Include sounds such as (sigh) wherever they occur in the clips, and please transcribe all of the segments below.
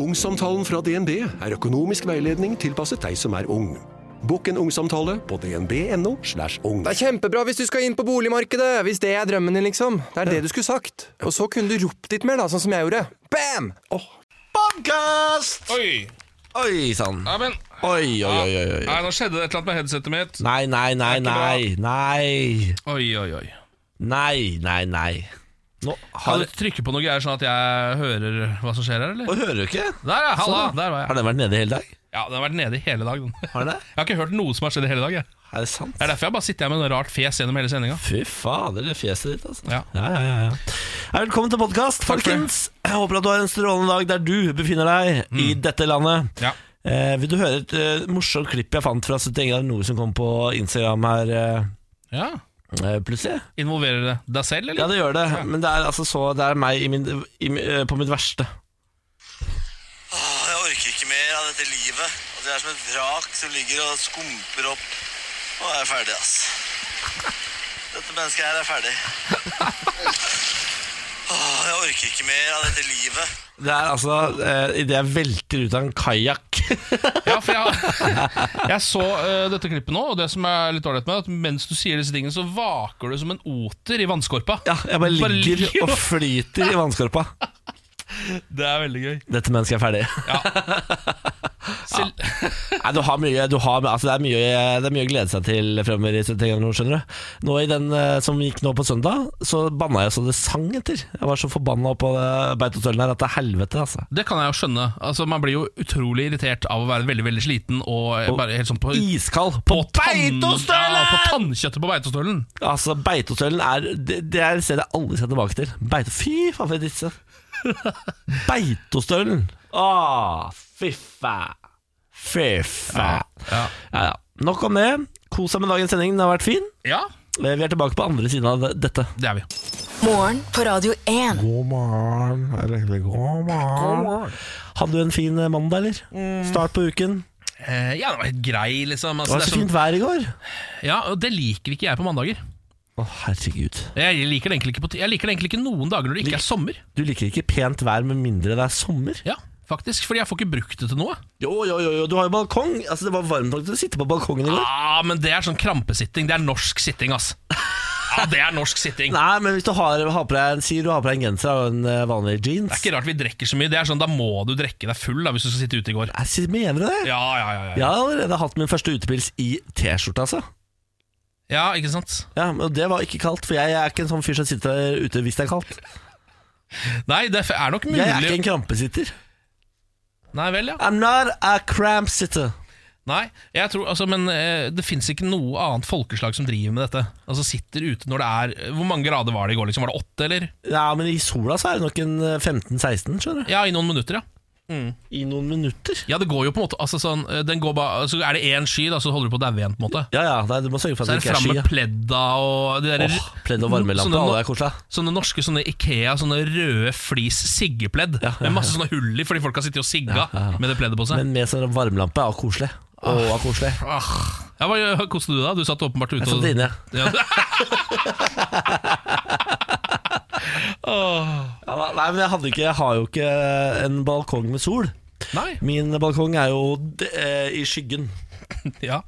Ungsamtalen fra DNB er økonomisk veiledning tilpasset deg som er ung. Bokk en ungsamtale på dnb.no. slash ung. Det er kjempebra hvis du skal inn på boligmarkedet! Hvis det er drømmen din, liksom. Det er det du skulle sagt. Og så kunne du ropt litt mer, da, sånn som jeg gjorde. Bam! Podkast! Oi! Oi sann. Ja, men Oi, oi, ja. oi, oi, oi. Nei, nå skjedde det et eller annet med headsetet mitt. Nei, nei, nei, nei. Nei, Oi, oi, oi. nei, nei. nei. Nå Kan har du trykke på noe greier sånn at jeg hører hva som skjer Å, her, eller? hører du ikke? Der, ja! Halla! Sånn, Der Har var jeg. den vært nede hele dag? Ja, Den har vært nede i hele dag. Den. Jeg Har den det? har ikke hørt noe som har skjedd i hele dag. Jeg. Er det sant? Det er derfor jeg bare sitter her med noe rart fjes gjennom hele sendinga. Fy fader, det fjeset ditt, altså. Ja. Ja, ja, ja, ja. Hei, Velkommen til podkast, for det. folkens. Jeg håper at du har en strålende dag der du befinner deg i Mm. dette landet. Ja. Eh, vil du høre et eh, morsomt klipp jeg fant fra 71 grader nord som kom på Instagram her eh, Ja. eh, plutselig? Involverer det deg selv, Ja, eller? det gjør det. Men det er altså så Det er meg i min, i, min- eh, på mitt verste. Åh, Jeg orker ikke mer av dette livet. At jeg er som et vrak som ligger og skumper opp. Nå er jeg ferdig, ass. Dette mennesket her er ferdig. Åh, Jeg orker ikke mer av dette livet. Det er altså eh, idet jeg velter ut av en kajakk. (laughs) Ja, for jeg, jeg (laughs) så eh, dette klippet nå, og det som er litt ålreit med det, er at mens du sier disse tingene, så vaker du som en oter i vannskorpa. ja, jeg bare ligger ligger og flyter i vannskorpa. (laughs) Det er veldig gøy. Dette mennesket er ferdig. Selv, Nei, du har mye, du har, altså det, er mye, det er mye å glede seg til fremover i 71 grader nord, skjønner du. Nå i den eh, som gikk nå på søndag, så banna jeg så det sang etter. Jeg var så forbanna på eh, Beitostølen her at det er helvete, altså. Det kan jeg jo skjønne. Altså, man blir jo utrolig irritert av å være veldig veldig sliten og, eh, bare helt sånn på Iskald på tann- Ja, på Beitostølen! tannkjøttet på Beitostølen! Altså, Beitostølen er det, det er et sted jeg aldri skal tilbake til. Beito, fy faen, for et (laughs) disse. Beitostølen! Å, fy faen. Fy faen. Ja. Ja, ja. Nok om det. Kos deg med dagens sending, den har vært fin. ja, Eh, Vi er tilbake på andre siden av det- dette. det er vi. Morgen på Radio 1. God morgen. Eller, eller god morgen. Hadde du en fin eh, mandag, eller? Start på uken. Eh, ja, det var helt grei, liksom. Det Altså, var Mm. så det er sånn, fint vær i går. ja, og det liker ikke jeg på mandager. Å, herregud. Jeg liker det egentlig ikke, på, ti- jeg liker det egentlig ikke noen dager når det ikke er sommer. Du liker ikke pent vær med mindre det er sommer. Ja, faktisk, Fordi jeg får ikke brukt det til noe. Jo, jo, jo, jo. du har jo balkong. Altså, det var varmt nok til å sitte på balkongen i går. Ah, men det er sånn krampesitting. Det er norsk sitting, (laughs) ass. Ja, det er norsk sitting. Nei, men hvis du har, har på deg en, sier du har på deg en genser og en eh, vanlig Det jeans er ikke rart vi drikker så mye. Det er sånn, Da må du drikke deg full da hvis du skal sitte ute i går. Jeg sier- mener du det? Ja, ja, ja, ja. Jeg har allerede hatt min første utepils i T-skjorte, altså. ja ikke sant? Ja, men Det var ikke kaldt, for jeg er ikke en sånn fyr som sitter ute hvis det er kaldt. Nei, det er nok mulig Jeg er ikke en krampesitter. Nei vel, ja. I'm not a cramp sitter. Nei, jeg tror, altså, Men eh, det fins ikke noe annet folkeslag som driver med dette. Altså Sitter ute når det er eh, Hvor mange grader var det i går? liksom? Var det åtte, eller? Ja, men i sola så er det nok en eh, 15-16, skjønner du. Ja, i noen minutter, ja. I noen minutter. Ja, det går jo på en måte altså, sånn, eh, den går ba, altså, Er det én sky, da, så holder du på å daue igjen, på en måte. Ja, ja, nei, du må sørge for at Så er det ikke det er fram sky. med ja. pledda og det der, Åh, pledd og varmelampe, sånne, alle er koselig. sånne norske sånne Ikea, sånne røde flis siggepledd. Med masse sånne hull i, fordi folk har sittet og sigga med det pleddet på seg. Men med sånn varmelampe er koselig. Å, er koselig. ah. ja, Hva koste du deg? da? Du satt åpenbart ute Jeg satt inne. Ja, (laughs) Ja, da- nei, men jeg, hadde ikke, jeg har jo ikke en balkong med sol. Nei. Min balkong er jo d eh, i skyggen. Ja.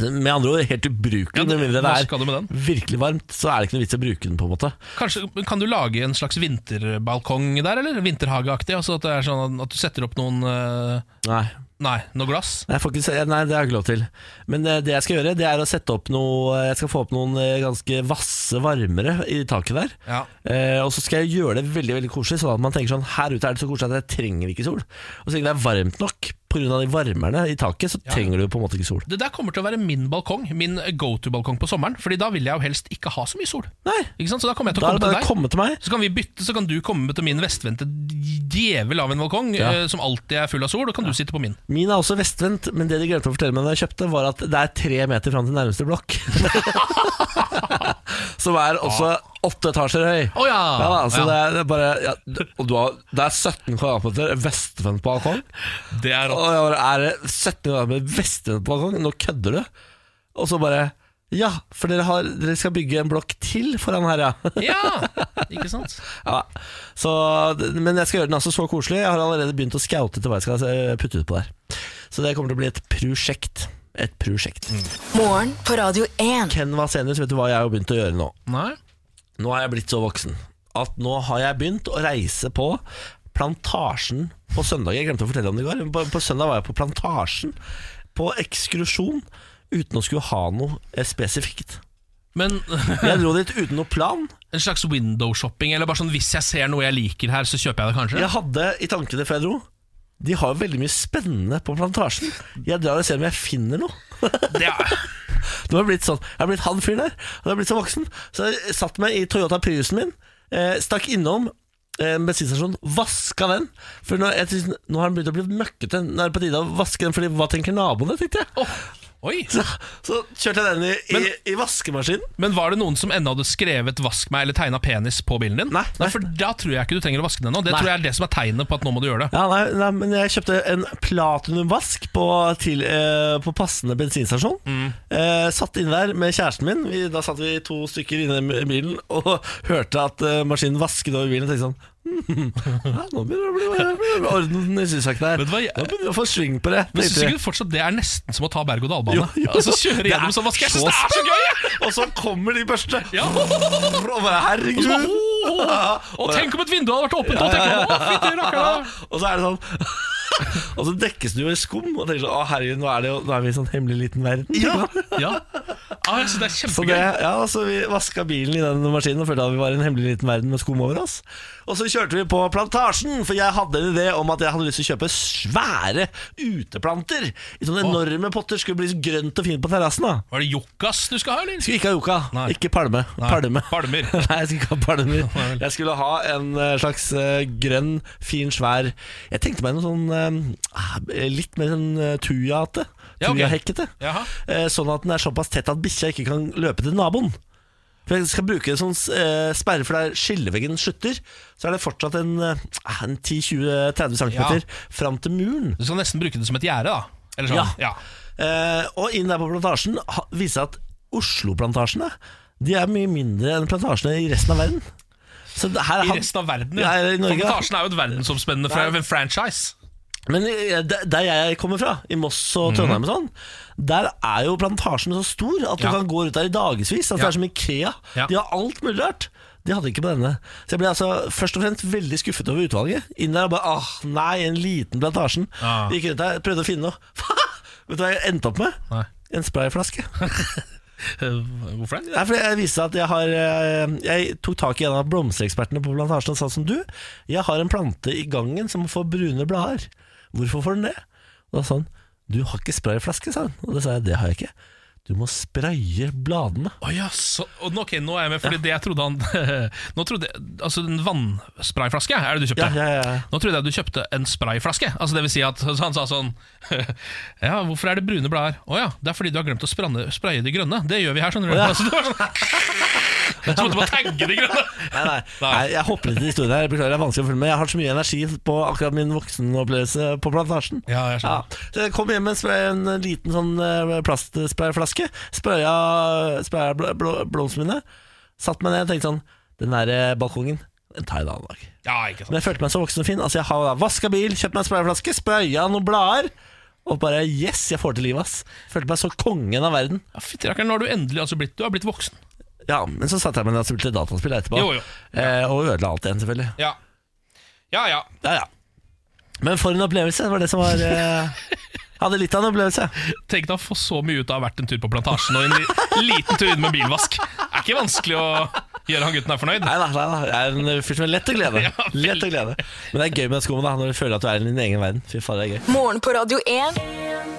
Med andre ord helt ubrukelig. Ja, med mindre det hva er skal du med virkelig varmt, så er det ikke noe vits i å bruke den. på en måte Kanskje, men kan du lage en slags vinterbalkong der, eller? Vinterhageaktig? Altså at, det er sånn at du setter opp noen eh, Nei, Nei, noe glass? nei, jeg får ikke, se- nei det har jeg ikke lov til. Men eh, det jeg skal gjøre, det er å sette opp noe Jeg skal få opp noen eh, ganske vasse varmere i taket der. Ja. Eh, og så skal jeg gjøre det veldig veldig koselig, sånn at man tenker sånn her ute er det så koselig at jeg trenger ikke sol. Og så lenge det er varmt nok pga. de varmerne i taket, så trenger du på en måte ikke sol. Det der kommer til å være min balkong, min go to-balkong på sommeren. Fordi da vil jeg jo helst ikke ha så mye sol. Nei, Ikke sant? Så da kommer jeg til da å er det komme til bare å komme til deg. meg. Så kan vi bytte, så kan du komme til min vestvendte djevel av en balkong, Ja. eh, som alltid er full av sol, og kan du sitte på min. Min er også vestvendt, men det de glemte å fortelle meg da jeg kjøpte, var at det er tre meter fram til nærmeste blokk. (laughs) Som er også åtte etasjer høy. Å ja! Ja, da, så Ja, Det, er, det er bare ja, Og du har, det er 17 kvadratmeter vestvendt balkong. det er rått. Og jeg bare, er det 17 år med vestene på balkongen? Nå kødder du? Og så bare Ja, for dere, har, dere skal bygge en blokk til foran her, ja. Ja, ikke sant? ja. Så, men jeg skal gjøre den altså så koselig. Jeg har allerede begynt å scoute til hva jeg skal eh, putte ut på der. Så det kommer til å bli et prosjekt. Et prosjekt. Morgen på Radio 1. Ken Vasenius, vet du hva jeg har begynt å gjøre nå? Nei. Nå har jeg blitt så voksen at nå har jeg begynt å reise på Plantasjen på søndag. Jeg glemte å fortelle om det i går. men På, på søndag var jeg på Plantasjen på ekskursjon uten å skulle ha noe eh, spesifikt. Men (laughs) Jeg dro dit uten noe plan. en slags window-shopping, eller bare sånn hvis jeg ser noe jeg liker her, så kjøper jeg det kanskje? Jeg hadde i tankene før jeg dro De har jo veldig mye spennende på plantasjen Jeg drar og ser om jeg finner noe Det er, Nå har jeg blitt sånn Jeg har blitt han fyr der Og jeg har blitt så voksen Så jeg satt meg i Toyota Priusen min eh, Stakk innom eh, en bensinstasjon Vaska den For nå, jeg, tenkte, nå har den begynt å bli møkkete Nå er det på tide å vaske den Fordi hva tenker naboene, tenkte jeg Åh, oi! så, så kjørte jeg den i, i, Men- i vaskemaskinen Men var det noen som ennå hadde skrevet 'vask meg' eller tegna penis på bilen din? Nei, nei. For da tror jeg ikke du trenger å vaske den ennå. Det Nei. tror jeg er det som er tegnet på at nå må du gjøre det. Ja, nei, nei, men jeg kjøpte en platinumvask på, til, eh, på passende bensinstasjon. Mm. Eh, satt inn der med kjæresten min. Vi, da satt vi to stykker inne i bilen og hørte at eh, maskinen vasket over bilen. Og tenkte sånn (laughs) «Hmm, ja, Nå begynner det å bli- bli orden i sysakene her. Vet du hva, jeg- Nå begynner vi å få sving på det. Men tenkte syns jeg. ikke du fortsatt det er nesten som å ta berg-og-dal-bane? Jo, jo. Altså kjøre Det er gjennom sånn vask. Jeg så syns det er så gøy! jeg! Og så kommer de børste. (laughs) Ja. Og bare herregud. Og så bare, Og tenk om et vindu hadde vært åpent! Og tenk om, å, fytti rakkeren. (laughs) Og så er det sånn (laughs) Og så dekkes du jo i skum og tenker sånn Å herregud, nå er, det jo, nå er vi i sånn hemmelig liten verden. Ja. Ah, jeg synes det er (laughs) Så, det, kjempegøy. ja, så vi vaska bilen i den maskinen og følte at vi var i en hemmelig liten verden med skum over oss. Og så kjørte vi på Plantasjen, for jeg hadde en idé om at jeg hadde lyst til å kjøpe svære uteplanter. I sånne enorme potter. Skulle bli så grønt og fint på terrassen. da Var det Jokkas du skal ha, eller? Skulle ikke ha yucca, Nei. ikke palme. Nei, palme. palmer. (laughs) Nei, jeg skulle ikke ha palmer. Jeg skulle ha en eh, slags eh, grønn, fin, svær Jeg tenkte meg noe sånn eh, litt mer sånn eh, tujate. Ja, ok. Tujahekkete. Jaha. Eh, Sånn at den er såpass tett at bikkja ikke kan løpe til naboen. For Jeg skal bruke en sånn eh, sperre, for der skilleveggen slutter. Så er det fortsatt en, eh, en 10-20-30 cm Ja. fram til muren. Du skal nesten bruke det som et gjerde, da. Eller sånn. Ja. Ja. Eh, og inn der på plantasjen ha- viser at Oslo-plantasjene De er mye mindre enn plantasjene i resten av verden. Så det her, I resten av verden. ja. Ja. i Norge, da. Plantasjen er jo et verdensomspennende fra en franchise. Men eh, der der jeg kommer fra, i Moss Mhm. og Trondheim og sånn, der er jo plantasjen så stor at du Ja. kan gå rundt der i dagevis. Altså Ja. Det er som Ikea. Ja. De har alt mulig rart. De hadde ikke på denne. Så jeg ble altså først og fremst veldig skuffet over utvalget. Inn der og bare ah, nei, en liten plantasjen. Ah. Gikk rundt der, prøvde å finne noe. (laughs) Vet du hva jeg endte opp med? Nei. En sprayflaske. Eh, Hvorfor det? Nei, for Jeg viste at jeg har eh, Jeg tok tak i en av blomsterekspertene på plantasjen og sa som du, jeg har en plante i gangen som får brune blader. Hvorfor får den det? Og da sa han du har ikke sprayflaske, sa han. Og det sa jeg det har jeg ikke. Du må spraye bladene. Å ja, så, og, nå- ok, nå er jeg med, fordi det jeg trodde han (laughs) Nå trodde jeg, Altså, en vannsprayflaske er det du kjøpte? Ja, ja, ja. Nå trodde jeg du kjøpte en sprayflaske. Altså, det vil si at så Han sa sånn (laughs) Ja, hvorfor er det brune blader? Å ja, det er fordi du har glemt å spranne, spraye de grønne. Det gjør vi her, skjønner du. ja. (laughs) Altså, det var sånn, så måtte man tagge de grønne! (laughs) Nei, (laughs) nei, nei, jeg hopper litt i historien her. Beklager, det er vanskelig å følge med. Jeg har så mye energi på akkurat min voksenopplevelse på plantasjen. Ja, jeg skjønner. Så jeg kom hjem med en spray- en liten sånn eh, plastsprayflaske. Spraya, spraya bl bl blomstene mine. Satt meg ned og tenkte sånn Den der eh, balkongen, den tar jeg en annen dag. Ja, ikke Men sant. jeg følte meg så voksen og fin. Altså, jeg har da vaska bil, kjøpt meg en sprayflaske, spraya noen blader. Og bare yes, jeg får til livet, ass. Følte meg så kongen av verden. Ja, Fytti rakkeren, nå har du endelig altså blitt Du har blitt voksen. Ja, Men så satte jeg meg ned og spilte dataspill etterpå. Jo, jo. Eh, og ødela alt igjen, selvfølgelig. Ja. Ja ja. Ja, ja. Men for en opplevelse, det var det som var eh, Hadde litt av en opplevelse. Tenk deg å få så mye ut av å ha vært en tur på plantasjen og en li liten tur inn med bilvask. Det er ikke vanskelig å gjøre han gutten her fornøyd. Nei da, nei da. Jeg er en fyr som er lett å (laughs) glede. Ja, veldig. Lett å glede. Men det er gøy med skoene da, når du føler at du er i din egen verden. Fy faen, det er gøy. Morgen på Radio 1.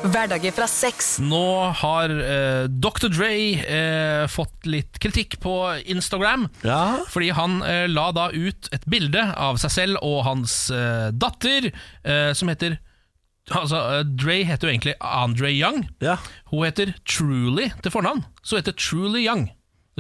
Hverdager fra seks. Nå har eh, Dr. Dre eh, fått litt kritikk på Instagram. Ja. Fordi han eh, la da ut et bilde av seg selv og hans eh, datter, eh, som heter Altså, eh, Dre heter jo egentlig Andre Young. Ja. Hun heter Truly til fornavn. Så hun heter Truly Young.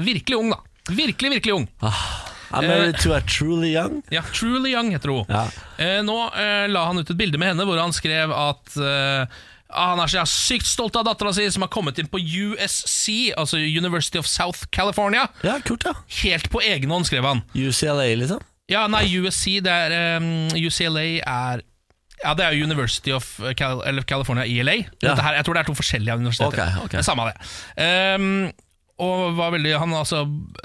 Virkelig ung, da. Virkelig, virkelig ung. I'm married to a truly young. Ja, Truly Young heter hun. Ja. Eh, nå eh, la han ut et bilde med henne hvor han skrev at eh, Ah, Han er så jævla sykt stolt av dattera si, som har kommet inn på USC, altså University of South California. Ja, kult, ja. Helt på egen hånd, skrev han. UCLA, liksom. Ja, nei, USC, det er ehm, UCLA er ja, det er jo University of eh, Cal eller California i LA. Ja. Dette her, jeg tror det er to forskjellige universiteter. Ok, ok. Det er Samme av det. Ehm, og var veldig, han altså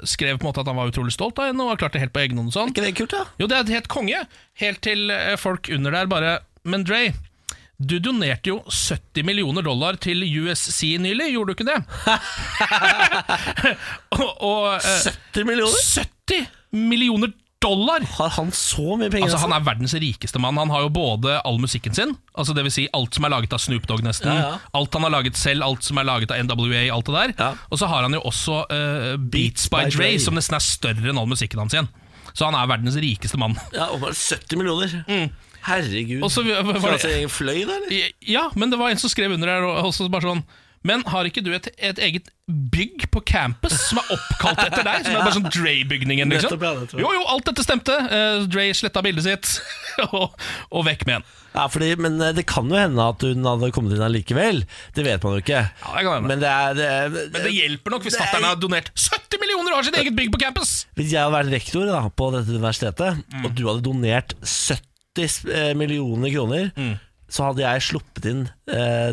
skrev på en måte at han var utrolig stolt av henne og har klart det helt på egen hånd. og sånn. Ikke det kult, da? Jo, det er helt konge. Helt til eh, folk under der bare Men Dre, du donerte jo 70 millioner dollar til USC nylig, gjorde du ikke det? (laughs) og, og eh, 70 millioner? 70 millioner dollar! Har han så mye penger? Altså, han er verdens rikeste mann. Han har jo både all musikken sin, altså det vil si alt som er laget av Snoop Dogg, nesten. Ja, ja. Alt han har laget selv, alt som er laget av NWA, alt det der. Ja. Og så har han jo også eh, Beats by, by Dre, Dre. som nesten er større enn all musikken hans igjen. Så han er verdens rikeste mann. Ja, og bare 70 millioner. Herregud. Og så var Skal han det- se egen fløy, da? eller? Ja, men det var en som skrev under her og- også bare sånn men har ikke du et, et eget bygg på campus som er oppkalt etter deg? Som er bare sånn Dre-bygningen, liksom? Nettopp, ja, nettopp. Jo, jo, alt dette stemte. Eh, Dre sletta bildet sitt, (laughs) og, og vekk med en. Ja, fordi, men eh, det kan jo hende at hun hadde kommet inn allikevel. Det vet man jo ikke. Ja, det kan hende. Men det er, det er Men det hjelper nok hvis Det er- fatter'n har donert 70 millioner og har sitt eget bygg på campus! Hvis jeg hadde vært rektor da, på dette universitetet, Mm. og du hadde donert 70 eh, millioner kroner, Mm. så hadde jeg sluppet inn eh,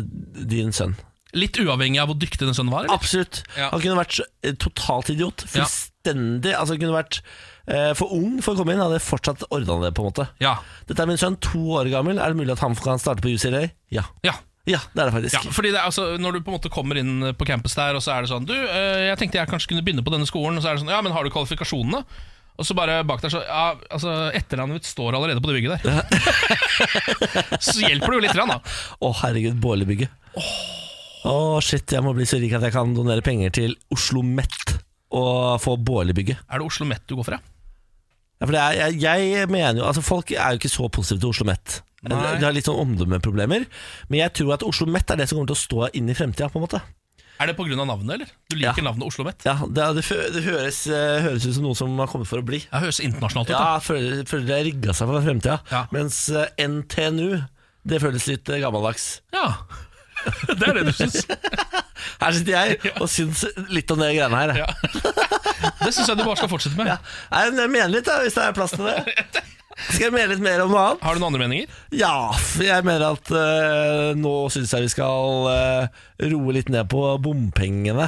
din sønn. Litt uavhengig av hvor dyktig den sønnen var. Eller? Absolutt. Ja. Han kunne vært så- eh, totalt idiot. Ja. Fullstendig. Altså, han kunne vært eh, for ung for å komme inn. Hadde jeg fortsatt ordna det, på en måte. Ja. Dette er min sønn, to år gammel. Er det mulig at han kan starte på UCLA? Ja. ja. Ja, det er det faktisk. Ja, fordi det er altså Når du på en måte kommer inn på campus der, og så er det sånn Du, eh, jeg tenkte jeg kanskje kunne begynne på denne skolen, og så er det sånn Ja, men har du kvalifikasjonene? Og så bare bak der så Ja, altså, etternavnet mitt står allerede på det bygget der. (laughs) så hjelper det jo litt, grann, da. Å, herregud, Bålebygget. Å, shit, jeg må bli så rik at jeg kan donere penger til Oslo Met og få Bålebygget. Er det Oslo Met du går fra? Ja, for det er, jeg, jeg mener jo Altså, folk er jo ikke så positive til Oslo Met. De Nei. de har litt sånn omdømmeproblemer. Men jeg tror at Oslo Met er det som kommer til å stå inn i fremtida, på en måte. Er det pga. navnet, eller? Du liker navnet Oslo Met? Ja, det, det, fø- det høres, eh, høres ut som noen som har kommet for å bli. Det høres internasjonalt ut. da Ja, føler, føler det rigga seg for fremtida. Ja. Mens eh, NTNU, det føles litt eh, gammeldags. Ja. (laughs) det er det du (laughs) syns. Her sitter (laughs) jeg og syns litt om de greiene her. jeg. Ja. Det syns jeg du bare skal fortsette med. Ja. Nei, men jeg mener litt, da, hvis det er plass til det. (laughs) Skal jeg mene litt mer om noe annet? Har du noen andre meninger? Ja, for jeg mener at eh, nå syns jeg vi skal eh, roe litt ned på bompengene.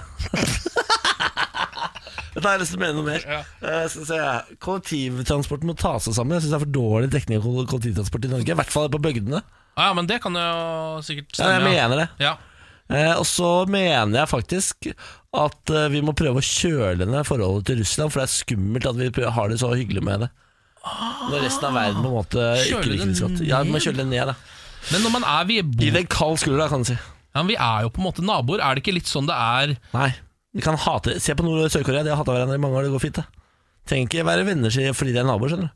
(laughs) Dette har jeg lyst til å mene noe mer. Ja. Eh, skal vi se. Kollektivtransporten må ta seg sammen. Jeg syns det er for dårlig dekning av koll- kollektivtransport i Norge. I hvert fall på bygdene. Ja, men det kan jo sikkert Ja, jeg stemme. mener det. ja. Eh, og så mener jeg faktisk at eh, vi må prøve å kjøle ned forholdet til Russland, for det er skummelt at vi prø- har det så hyggelig med det. Når resten av verden på en måte Ah, Kjøle ikke det liker det så godt. Ja, vi må kjøle det ned, da. Men når man er ved Gi det en kald skulder, da, kan du si. Ja, men Vi er jo på en måte naboer. Er det ikke litt sånn det er Nei, vi kan hate Se på Nord- og Sør-Korea, de har hata hverandre i mange år, det går fint, det. Trenger ikke være venner si- fordi de er naboer, skjønner du.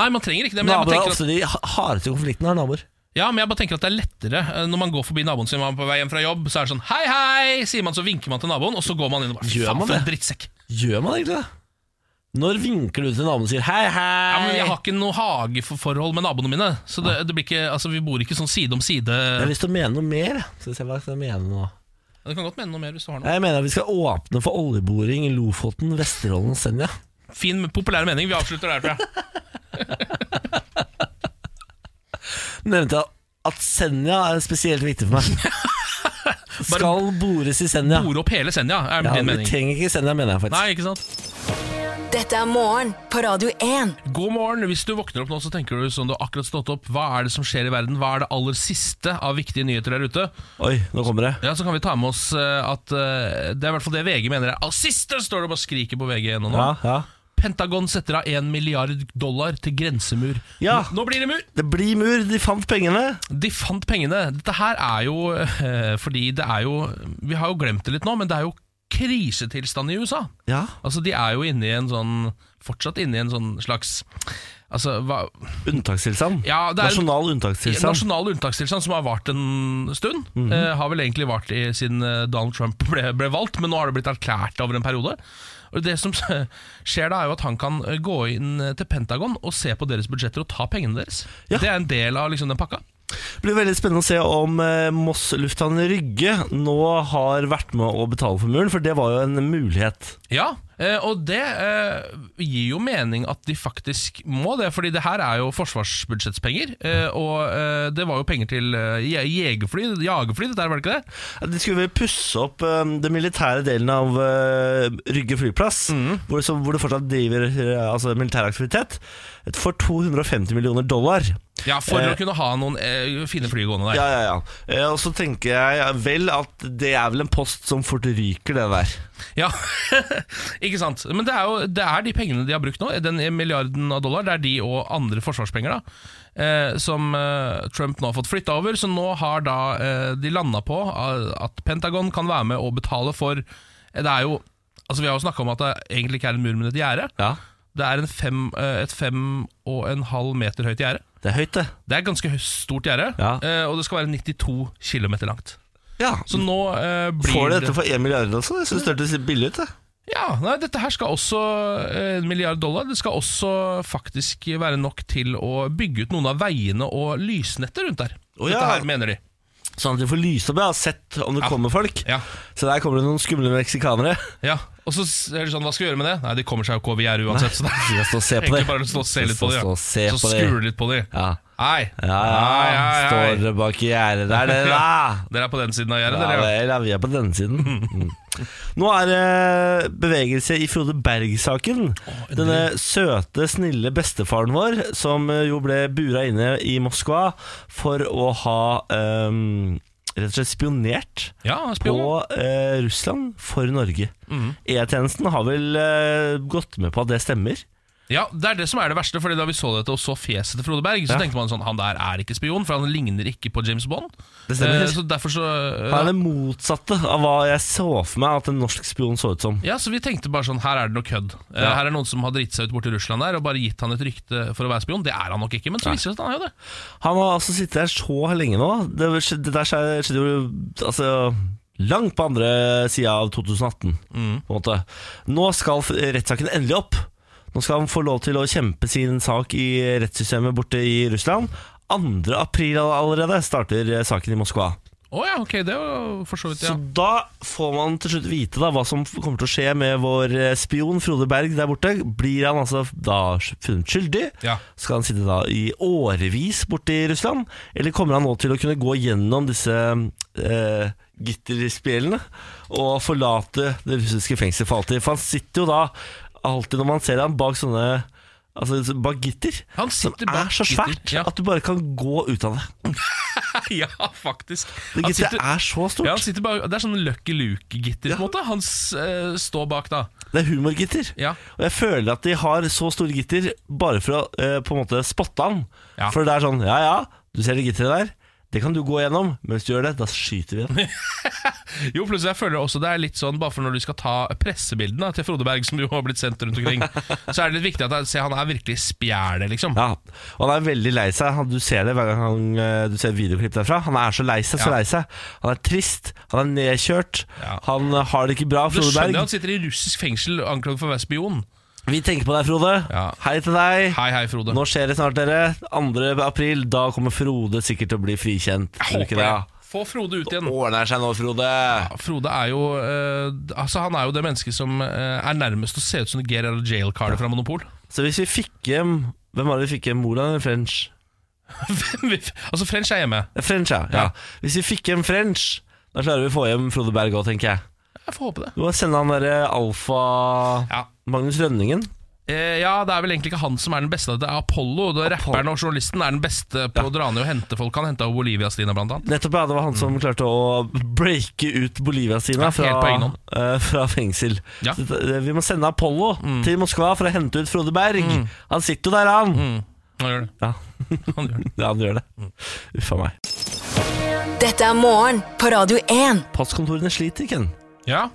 Nei, man trenger ikke det. Men jeg, Naboer bare er tenker at, ofte de ha- hardeste konfliktene, har naboer. ja, men jeg bare tenker at det er lettere eh, når man går forbi naboen sin man er på vei hjem fra jobb. Så er det sånn hei, hei, sier man, så vinker man til naboen, og så går man inn og bare Gjør faen man for en det? drittsekk. Gjør man egentlig det? Når vinker du til naboen og sier hei, hei? Ja, men jeg har ikke noe hageforhold med naboene mine, så det, det blir ikke, altså, vi bor ikke sånn side om side. Jeg har lyst til å mene noe mer. jeg. Skal vi se hva jeg skal mene nå. Du kan godt mene noe mer hvis du har noe. Jeg mener at vi skal åpne for oljeboring i Lofoten, Vesterålen og Senja. Fin, populær mening. Vi avslutter der, tror (laughs) jeg. Nevnte jeg at Senja er spesielt viktig for (laughs) meg. Skal bores i Senja. Bore opp hele Senja, er Ja, din vi mening. trenger ikke Senja, mener jeg faktisk. Nei, ikke sant? Dette er morgen på Radio 1. God morgen. Hvis du våkner opp nå, så tenker du som du har akkurat stått opp. Hva er det som skjer i verden? Hva er det aller siste av viktige nyheter der ute? Oi, nå kommer det. Ja, så kan vi ta med oss eh, at eh, Det er i hvert fall det VG mener er «Å, siste, står det og bare skriker på VG nå. Ja, ja. Pentagon setter av 1 milliard dollar til grensemur. Ja. Nå, nå blir det mur! Det blir mur, de fant pengene. De fant pengene. Dette her er jo eh, fordi det er jo Vi har jo glemt det litt nå, men det er jo krisetilstand i USA. Ja. Altså, de er jo inne i en sånn Fortsatt inne i en sånn slags Altså, hva Unntakstilstand. Ja, det er- Nasjonal unntakstilstand. Nasjonal unntakstilstand som har vart en stund. Mhm. eh, har vel egentlig vart i, siden eh, Donald Trump (laughs) ble, ble valgt, men nå har det blitt erklært over en periode. Og Det som (laughs) skjer da, er jo at han kan eh, gå inn til Pentagon og se på deres budsjetter og ta pengene deres. Ja. Det er en del av liksom den pakka. Det blir veldig spennende å se om eh, Moss lufthavn Rygge nå har vært med å betale for muren, for det var jo en mulighet. Ja, eh, og det eh, gir jo mening at de faktisk må det, fordi det her er jo forsvarsbudsjettspenger. eh, Og eh, det var jo penger til eh, je- jegerfly, jagerfly, dette her, var det ikke det? De skulle vel pusse opp um, den militære delen av eh, Rygge flyplass, Mhm. hvor, så, hvor det fortsatt driver eh, altså, militær aktivitet, for 250 millioner dollar. Ja, For Eh. å kunne ha noen eh, fine fly gående der. Ja, ja, ja. Eh, og så tenker jeg vel at det er vel en post som fort ryker, det der. Ja, (laughs) ikke sant. Men det er jo det er de pengene de har brukt nå, den milliarden av dollar, det er de og andre forsvarspenger, da, eh, som eh, Trump nå har fått flytta over. Så nå har da eh, de landa på eh, at Pentagon kan være med og betale for eh, Det er jo Altså Vi har jo snakka om at det egentlig ikke er en mur, men et gjerde. Ja. Det er en fem, eh, et fem og en halv meter høyt gjerde. Det er høyt, det. Det er et ganske hø- stort gjerde, Ja. eh, og det skal være 92 km langt. Ja. Så nå eh, blir Får de dette for én milliard, altså? Jeg syns det hørtes billig ut. det. Ja, nei, dette her skal også eh, en milliard dollar. Det skal også faktisk være nok til å bygge ut noen av veiene og lysnettet rundt der. Å, dette ja. her mener de. Sånn at de får lyse opp, ja. Sett om det Ja. kommer folk. Ja, Så der kommer det noen skumle meksikanere. ja. Og så er det sånn, hva skal vi gjøre med det? Nei, de kommer seg jo ikke over gjerdet uansett. Så det er sånn (laughs) De skal stå og se på egentlig det. bare å stå og se litt på det. Stå og se Så på det. skruer litt på de. Ja. Nei. Ja, Nei, ja, nei, nei. står det bak gjerdet der, (laughs) dere, da. Dere er på den siden av Ja gjerdet, dere. vel, ja, vi er på denne siden. (laughs) Mm. Nå er det bevegelse i Frode Berg-saken. Denne søte, snille bestefaren vår, som eh, jo ble bura inne i Moskva for å ha ehm, rett og slett spionert Ja, på spion. eh, Russland for Norge. E-tjenesten har vel eh, gått med på at det stemmer. Ja, det er det som er det verste, Fordi da vi så dette og så fjeset til Frode Berg, så Ja. tenkte man sånn, han der er ikke spion, for han ligner ikke på James Bond. Det stemmer. Eh, Så derfor så eh, Han er det motsatte av hva jeg så for meg at en norsk spion så ut som. Ja, så vi tenkte bare sånn, her er det noe kødd. Eh, Ja. Her er noen som har dritt seg ut borti Russland der og bare gitt han et rykte for å være spion. Det er han nok ikke, men så viser det seg at han er jo det. Han har altså sittet her så lenge nå. Det, skjedde- det der skjedde skjedde jo altså, langt på andre sida av 2018. På en måte. Nå skal f- rettssaken endelig opp. Nå skal han få lov til å kjempe sin sak i rettssystemet borte i Russland. 2. april all- allerede starter eh, saken i Moskva. Å ja, ok, det er jo for så (laughs) vidt, Så ja. da får man til slutt vite da hva som f- kommer til å skje med vår eh, spion Frode Berg der borte. Blir han altså da funnet skyldig? Ja. Skal han sitte da i årevis borte i Russland? Eller kommer han nå til å kunne gå gjennom disse eh, gitterspjelene og forlate det russiske fengselet for alltid? For han sitter jo da alltid når man ser han bak sånne Altså bak gitter, Han som sitter er bak så gitter, svært ja. at du bare kan gå ut av det. ja, faktisk. Det Han gitteret sitter- er så stort. ja, han sitter bare, det er sånn Lucky Luke-gitter, på en måte. Han s- eh, står bak, da. Det er humorgitter. Ja. Og jeg føler at de har så store gitter bare for å eh, på en måte spotte han. Ja. For det er sånn Ja, ja, du ser det gitteret der. Det kan du gå gjennom. Men hvis du gjør det, da skyter vi den. Jo, plutselig jeg føler også det er litt sånn Bare for når du skal ta pressebildene til Frode Berg, som jo har blitt sendt rundt (laughs) omkring, så er det litt viktig at jeg, se, han er virkelig spjælet, liksom. Ja. Og han er veldig lei seg. Han- Du ser det hver gang han, eh, du ser videoklipp derfra. Han er så lei seg, så Ja. lei seg. Han er trist. Han er nedkjørt. Ja. Han eh, har det ikke bra, Du Frode skjønner jeg Berg. at han sitter i russisk fengsel anklaget for å være spion. Vi tenker på deg, Frode. Ja. Hei til deg. Hei, hei, Frode. Nå skjer det snart, dere. 2. april. Da kommer Frode sikkert til å bli frikjent. Tror du Håper ikke det? det. Få Frode ut igjen. Ordner seg nå, Frode. Frode er jo eh, Altså han er jo det mennesket som eh, er nærmest å se ut som det Get Out of Jail-kardet fra Monopol. (laughs) Så hvis vi fikk hjem Hvem var det vi fikk hjem? Moland eller French? Hvem vil- altså French er hjemme. Eh, French, ja. ja. Ja. Hvis vi fikk hjem French, da klarer vi å få hjem Frode Berg òg, tenker jeg. Jeg får håpe det. Du må sende han derre alfa Ja. Magnus Rønningen. Eh, ja, det er vel egentlig ikke han som er den beste. Det er Apollo. Det er Rapperen og journalisten er den beste på å dra ned og hente folk. Han henta Bolivia-Stina, blant annet. Nettopp, ja. Det var han som klarte å breake ut Bolivia-Stina Mm. Ja, helt fra, på egen hånd. eh, fra fengsel. Ja. Mm. Så det- vi må sende Apollo til Moskva for å hente ut Frode Berg. Han sitter jo der, han. Mm. Han gjør det. Ja. (laughs) Han gjør det. ja, han gjør det. Mm. Uff a meg. Dette er morgen på Radio 1. Passkontorene sliter, Ken. Ja.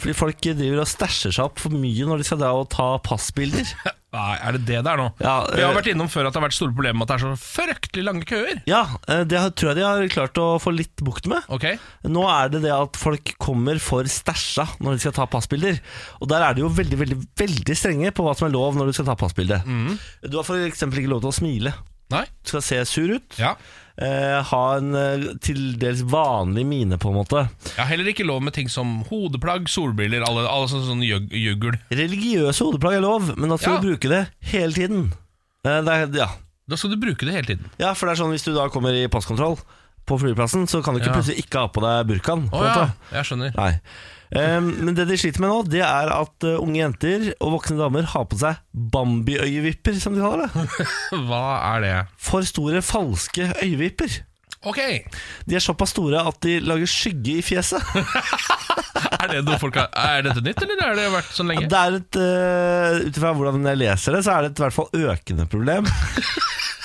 Fordi folk driver og stæsjer seg opp for mye når de skal dra og ta passbilder. Nei, er det det det er nå? Ja, Vi har eh, vært innom før at det har vært store problemer med at det er så fryktelig lange køer. Ja, eh, det har- tror jeg de har klart å få litt bukt med. Ok? Nå er det det at folk kommer for stæsja når de skal ta passbilder. Og der er de jo veldig Mhm. veldig, veldig strenge på hva som er lov når du skal ta passbilde. Du har f.eks. ikke lov til å smile. Nei? Skal se sur ut. Ja. Eh, ha en eh, til dels vanlig mine, på en måte. Jeg har heller ikke lov med ting som hodeplagg, solbriller, alle, alle sånne, sånne jøg- juggel. Religiøse hodeplagg er lov, men da skal Ja. du bruke det hele tiden. Eh, det er, ja. Da skal du bruke det hele tiden. ja, for det er sånn hvis du da kommer i passkontroll på flyplassen, så kan du ikke Ja. plutselig ikke ha på deg burkaen. på Å en ja, måte. jeg skjønner. (laughs) Nei. Eh, men det de sliter med nå, det er at eh, unge jenter og voksne damer har på seg Bambi-øyevipper, som de kaller det. Hva er det? For store, falske øyevipper. Ok, De er såpass store at de lager skygge i fjeset. Er, det noe folk har, er dette nytt, eller har det vært sånn lenge? Det er et, uh, Ut ifra hvordan jeg leser det, så er det et i hvert fall økende problem.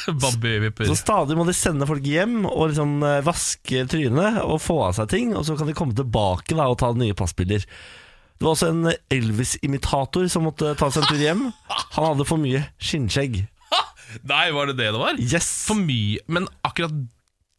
(laughs) Bambi-vipper. Så stadig må de sende folk hjem og liksom eh, vaske trynet og få av seg ting, og så kan de komme tilbake da og ta nye passbilder. Det var også en Elvis-imitator som måtte ta seg en tur hjem. Han hadde for mye skinnskjegg. Nei, var det det det var? Yes! For mye Men akkurat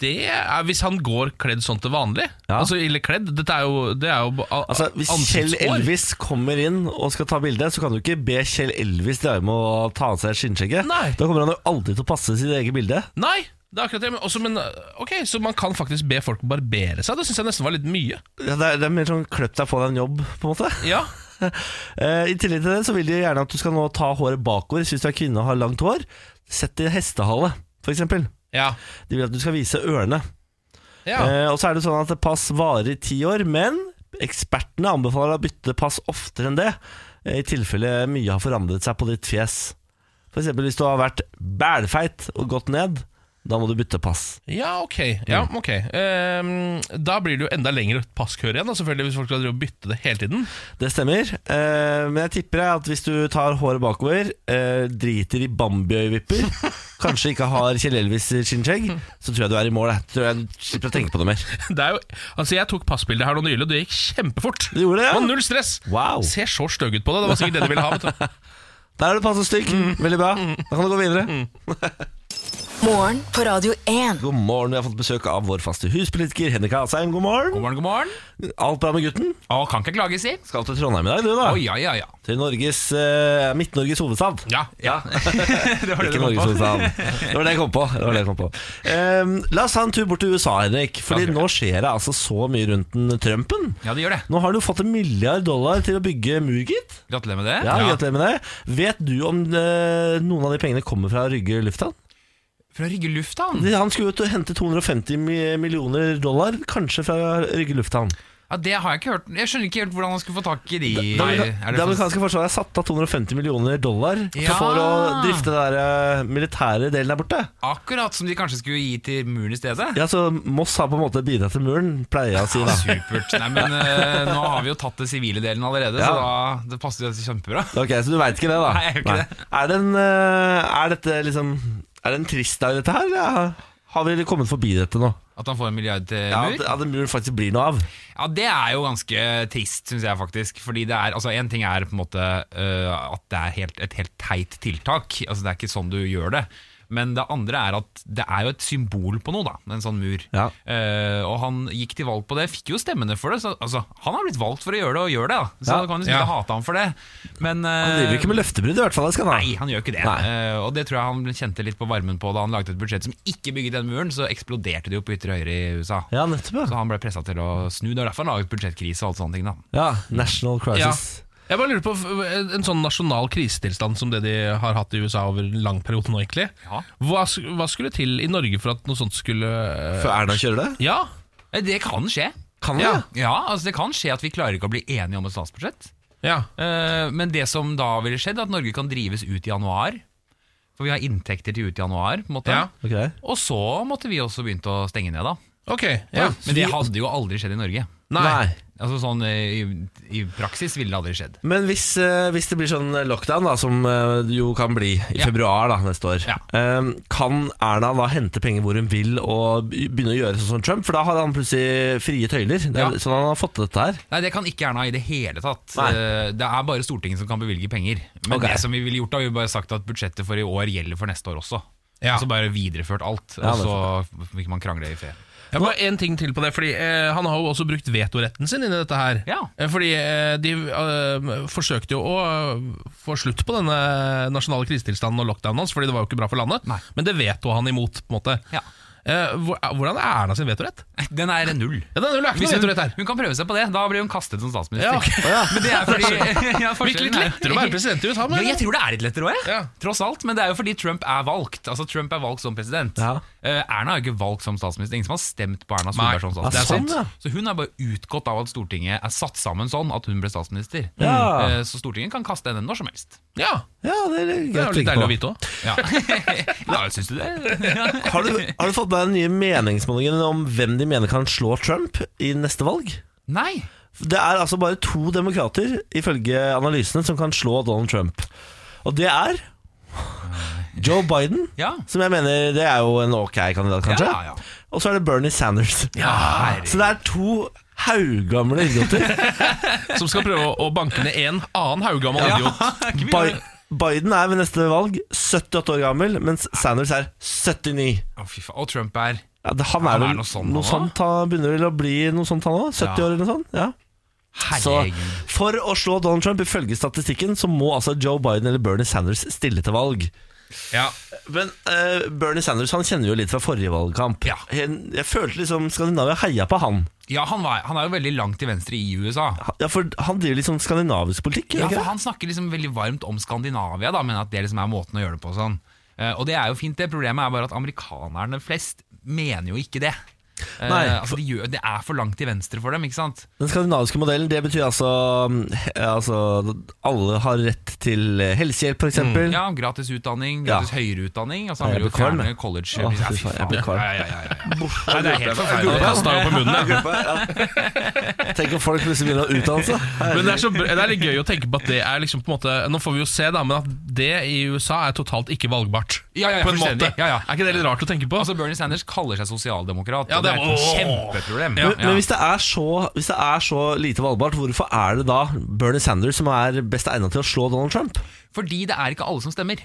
det er Hvis han går kledd sånn til vanlig Ja. Altså ille kledd Dette er jo, det er jo ba- a- Altså, Hvis Kjell ansiktshår. Elvis kommer inn og skal ta bilde, så kan du ikke be Kjell Elvis dra hjem og ta av seg skinnskjegget. Nei. Da kommer han jo aldri til å passe sitt eget bilde. Nei, det er akkurat det men, også, men ok, så man kan faktisk be folk barbere seg Det synes jeg nesten var litt mye Ja, det, er, det er mer sånn kløpp deg, få deg en jobb, på en måte. Ja, Eh, I tillegg til det så vil de gjerne at du skal nå ta håret bakover. Hvis du er kvinne og har langt hår, sett det i hestehale, f.eks. De ja, vil at du skal vise ørene. ja. Eh, og så er det sånn at pass varer i ti år, men ekspertene anbefaler deg å bytte pass oftere enn det, eh, i tilfelle mye har forandret seg på ditt fjes. F.eks. hvis du har vært bælfeit og gått ned, da må du bytte pass. ja ok, ja, Mm. ok Ehm, Da blir det jo enda lengre passkør igjen da, Selvfølgelig hvis folk skal drive og bytte det hele tiden Det stemmer. Eh, men jeg tipper at hvis du tar håret bakover, eh, driter i (laughs) Bambi-øyevipper, kanskje ikke har Kjell Elvis skinnskjegg, så tror jeg du er i mål. Jeg tror jeg du slipper å tenke på det mer. Det er jo Altså jeg tok passbildet her nå nylig Og det gikk kjempefort Du gjorde det, ja? var null stress Wow. Ser så støgg ut på det Det var sikkert det de ville ha vet du. Der er du passe stygg. Veldig bra. Da kan du gå videre. Morgen på Radio 1. God morgen. Vi har fått besøk av vår faste huspolitiker Henrik Asheim. God morgen. God morgen, god morgen. Alt bra med gutten? Å, kan ikke klage, si. Å, Skal til Trondheim i dag, du, da. ja, ja, ja. Til Norges eh, Midt-Norges hovedstad. Ja, (laughs) ja. det var Ikke det du kom Norges på. hovedstad. Det var det jeg kom på. Det var det jeg kom på. Ehm, la oss ta en tur bort til USA, Henrik. Fordi nå skjer det altså så mye rundt den Trumpen. Ja, det gjør det. Nå har du fått en milliard dollar til å bygge mur, gitt. Gratulerer med det. Ja, Gratulerer med det. Vet du om eh, noen av de pengene kommer fra Rygge lufthavn? Fra Rygge lufthavn? De- Han skulle jo til å hente 250 mi- millioner dollar, kanskje fra Rygge lufthavn. Ja, det har jeg ikke hørt. Jeg skjønner ikke helt hvordan han skulle få tak i de. Det, Nei, amerika- er det det for... amerikanske forsvaret har satt av 250 millioner dollar Ja. for å drifte den der eh, militære delen der borte. Akkurat som de kanskje skulle gi til muren i stedet. Ja, så Moss har på en måte bidratt til muren, pleier jeg å si. (laughs) da Supert. Nei, men eh, nå har vi jo tatt det sivile delen allerede, Ja. så da, det passer jo kjempebra. Ok, Så du veit ikke det, da? Nei, jeg gjør ikke det. Er, det en, eh, er dette liksom Er det en trist dag, dette her? Eller har vi kommet forbi dette nå? At han får en milliard til Ja, mur. at, at en mur faktisk blir noe av. Ja, det er jo ganske trist, syns jeg faktisk. Fordi det er, altså En ting er på en måte øh, at det er helt, et helt teit tiltak. Altså Det er ikke sånn du gjør det. Men det andre er at det er jo et symbol på noe, da. En sånn mur. Ja. Eh, og han gikk til valg på det, fikk jo stemmene for det. Så, altså, han har blitt valgt for å gjøre det, og gjør det. da Så Ja. da kan du ikke Ja. hate ham for det. Men øh, Han driver ikke med løftebrudd, i hvert fall. det Skal han. ha. Eh, Nei, han gjør ikke det. Nei. Eh, og det tror jeg han kjente litt på varmen på da han lagde et budsjett som ikke bygget den muren. Så eksploderte det jo på ytre høyre i USA. Ja, nettopp. Så Ja. han ble pressa til å snu. Det er derfor han laget budsjettkrise og alt sånne ting. da ja National Ja. crisis. Jeg bare lurer på f- en sånn nasjonal krisetilstand som det de har hatt i USA over en lang periode nå, egentlig. Ja. Hva, sk- hva skulle til i Norge for at noe sånt skulle Før Erna kjører det? Ja, Eh, Det kan skje. Kan Ja. det? Ja, altså Det kan skje at vi klarer ikke å bli enige om et statsbudsjett. ja. Eh, Men det som da ville skjedd, er at Norge kan drives ut i januar. For vi har inntekter til ut i januar. på en måte Ja. Ok Og så måtte vi også begynt å stenge ned, da. Ok. Ja. Men det hadde jo aldri skjedd i Norge. Nei. Altså sånn eh, I, i praksis ville det aldri skjedd. Men hvis, eh, hvis det blir sånn lockdown, da, som eh, det jo kan bli i Ja. februar da, neste år, Ja. eh, kan Erna da hente penger hvor hun vil og be- begynne å gjøre sånn som Trump? For da har han plutselig frie tøyler. Det Ja. er Sånn han har fått til dette her. Nei, Det kan ikke Erna i det hele tatt. Nei. Eh, Det er bare Stortinget som kan bevilge penger. Men Ok. det som vi ville gjort, da vi bare sagt at budsjettet for i år gjelder for neste år også. Ja. Og så bare videreført alt, Ja, og det er så vil ikke man krangle i fred. Jeg må ha en ting til på det, fordi eh, Han har jo også brukt vetoretten sin inni dette her. Ja. Eh, Fordi eh, de eh, forsøkte jo å eh, få slutt på denne nasjonale krisetilstanden og lockdownen hans, fordi det var jo ikke bra for landet. Nei. Men det veto han imot, på en måte. Ja. Eh, hvor- hvordan er Erna sin vetorett? Den er null. Ja, det er null, det er ikke Hvis noe hun, vetorett her. hun kan prøve seg på det. Da blir hun kastet som (laughs) statsminister. Ja, ok. (laughs) Men det er fordi ja, forskjellen Virker litt er- lettere å være president i USA, men- Ja, jeg tror det er litt lettere òg, Ja. tross alt. Men det er jo fordi Trump er valgt. Altså Trump er valgt som president. Ja. Eh, Erna er jo ikke valgt som statsminister. Ingen som har stemt på Erna Nei, Solberg som det er statsminister. sant, ja. Så hun er bare utgått av at Stortinget er satt sammen sånn at hun ble statsminister. Ja. Eh, Så Stortinget kan kaste henne når som helst. Ja, Ja, det er det er greit å jo litt tenke deilig å på. vite òg. Ja, ja syns du det? Har du, har du fått med deg den nye meningsmålingen om hvem de mener kan slå Trump i neste valg? Nei. Det er altså bare to demokrater, ifølge analysene, som kan slå Donald Trump. Og det er Joe Biden, Ja. som jeg mener det er jo en ok kandidat, kanskje. Ja, ja. Og så er det Bernie Sanders. Så det er to haugamle (laughs) idioter. Som skal prøve å- å banke ned en annen haugammal (laughs) idiot. Bi Biden er ved neste valg 78 år gammel, mens Sanders er 79. Å, fy faen. Og Trump er Ja, det, han Han er er vel noe noe sånn, sånt, han også. han begynner vel å bli noe sånt han òg? 70 Ja. år eller noe sånt? Ja. Så Herregud. for å slå Donald Trump, ifølge statistikken, så må altså Joe Biden eller Bernie Sanders stille til valg. Ja. Men eh, Bernie Sanders han kjenner vi jo litt fra forrige valgkamp. Ja. Jeg, jeg følte liksom Skandinavia heia på han. Ja, han, var, han er jo veldig langt til venstre i USA. Ja, for Han driver litt sånn skandinavisk politikk? Ja, gjør for ikke det? Han snakker liksom veldig varmt om Skandinavia, da, men at det liksom er måten å gjøre det på. og sånn. Eh, og det er jo fint, det. Problemet er bare at amerikanerne flest mener jo ikke det. Eh, Nei, altså de gjør, Det er for langt til venstre for dem, ikke sant? Den skandinaviske modellen det betyr altså, eh, altså Alle har rett til eh, helsehjelp, f.eks. eksempel Mm, Ja, Gratis utdanning, Ja. gratis høyere utdanning. Altså, Ja, han jeg vil jo blir kvalm, fjerne jeg. college Å, fy faen, jeg blir kvalm. Ja, ja, ja, ja. Nei, det er helt Han forferdelig. kastet jo på munnen, ja. (laughs) Tenk om folk plutselig begynner å utdanne seg. Men det er, så, br- det er litt gøy å tenke på at det er liksom på en måte Nå får vi jo se, da, men at det i USA er totalt ikke valgbart. Ja, ja, ja, på en fullstendig. måte. Ja, ja. Er ikke det litt rart å tenke på? Altså, Bernie Sanders kaller seg sosialdemokrat, Ja, og det det er er- et Åh. kjempeproblem. Ja. Men, men hvis, det er så, hvis det er så lite valgbart, hvorfor er det da Bernie Sanders som er best egnet til å slå Donald Trump? Fordi det er ikke alle som stemmer.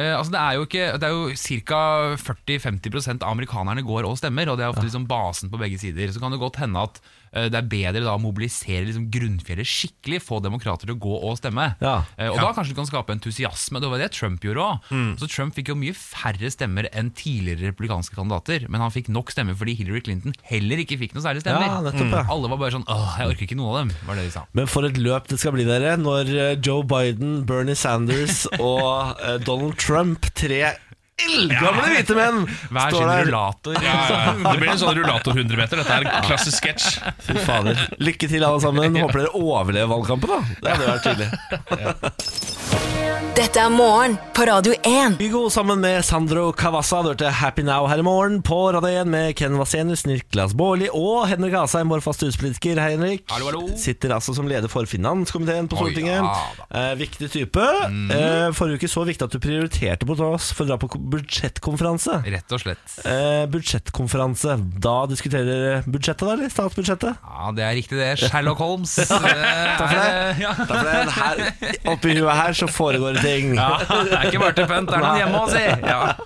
Eh, altså det er jo, ikke- det er jo ca. 40-50 av amerikanerne går og stemmer, og det er ofte liksom basen på begge sider. Så kan det godt hende at eh, det er bedre da å mobilisere liksom grunnfjellet skikkelig, få demokrater til å gå og stemme. Ja. Mm. Eh, og da kanskje du kan skape entusiasme. Det var det Trump gjorde òg. Så Trump fikk jo mye færre stemmer enn tidligere republikanske kandidater, men han fikk nok stemmer fordi Hillary Clinton heller ikke fikk noe særlig stemmer. Ja, nettopp, ja. Alle var bare sånn åh, jeg orker ikke noen av dem, var det de sa. Men for et løp det skal bli, dere, når eh, Joe Biden, Bernie (laughs) Sanders og eh, Donald Trump, tre eldgamle hvite menn, Hver sin står der. rullator. Ja, ja, ja. Det blir en sånn rullator 100 meter. Dette er en klassisk sketsj. Fy fader. Lykke til, alle (laughs) sammen. Håper dere overlever valgkampen, da. Det hadde vært tydelig. Dette er morgen på Radio 1. Hugo sammen med Sandro Cavazza Du hørte Happy Now her i morgen på Radio 1 med Ken Vasenius, Niklas Baarli og Henrik Asheim, vår faste huspolitiker. Hei, Henrik. Hallo, hallo. Sitter altså som leder for finanskomiteen på Å, Stortinget. ja Mhm. eh, viktig type. Eh, forrige uke så viktig at du prioriterte på oss for å dra på ko- budsjettkonferanse. Rett og slett. Eh, budsjettkonferanse. Da diskuterer dere budsjettet, da? Eller statsbudsjettet? Ja, det er riktig det. Sherlock Holmes. eh. (laughs) Takk for det. Ja. Da ble det her, oppi huet her så foregår det ting. Ja, det er ikke bare til pynt, det er noen hjemme òg, si! Ja.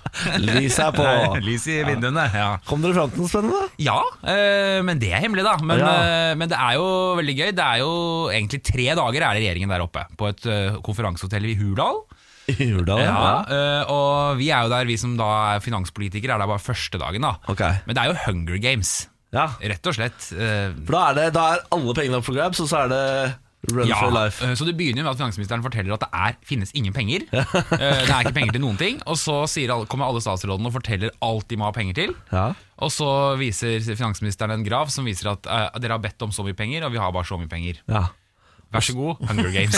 Lyset er Nei, på. Lys i vinduene. Ja, Kom dere fram til noe spennende? ja eh, men det er hemmelig, da. Men, Ja. eh, men det er jo veldig gøy. Det er jo egentlig tre dager er det regjeringen der oppe, på et eh, konferansehotell i Hurdal. I Hurdal? ja. Ja, eh, og vi er jo der, vi som da er finanspolitikere, er der bare første dagen, da. Ok. Men det er jo Hunger Games, ja. rett og slett. eh, For da er, det, da er alle pengene opp for grabs, og så er det run for life. eh, Så det begynner med at finansministeren forteller at det er, finnes ingen penger. (laughs) Eh, Det er ikke penger til noen ting. Og så sier alle, kommer alle statsrådene og forteller alt de må ha penger til. Ja. Og så viser finansministeren en grav som viser at eh, dere har bedt om så mye penger, og vi har bare så mye penger. Ja. Vær så god, Hunger (laughs) Games.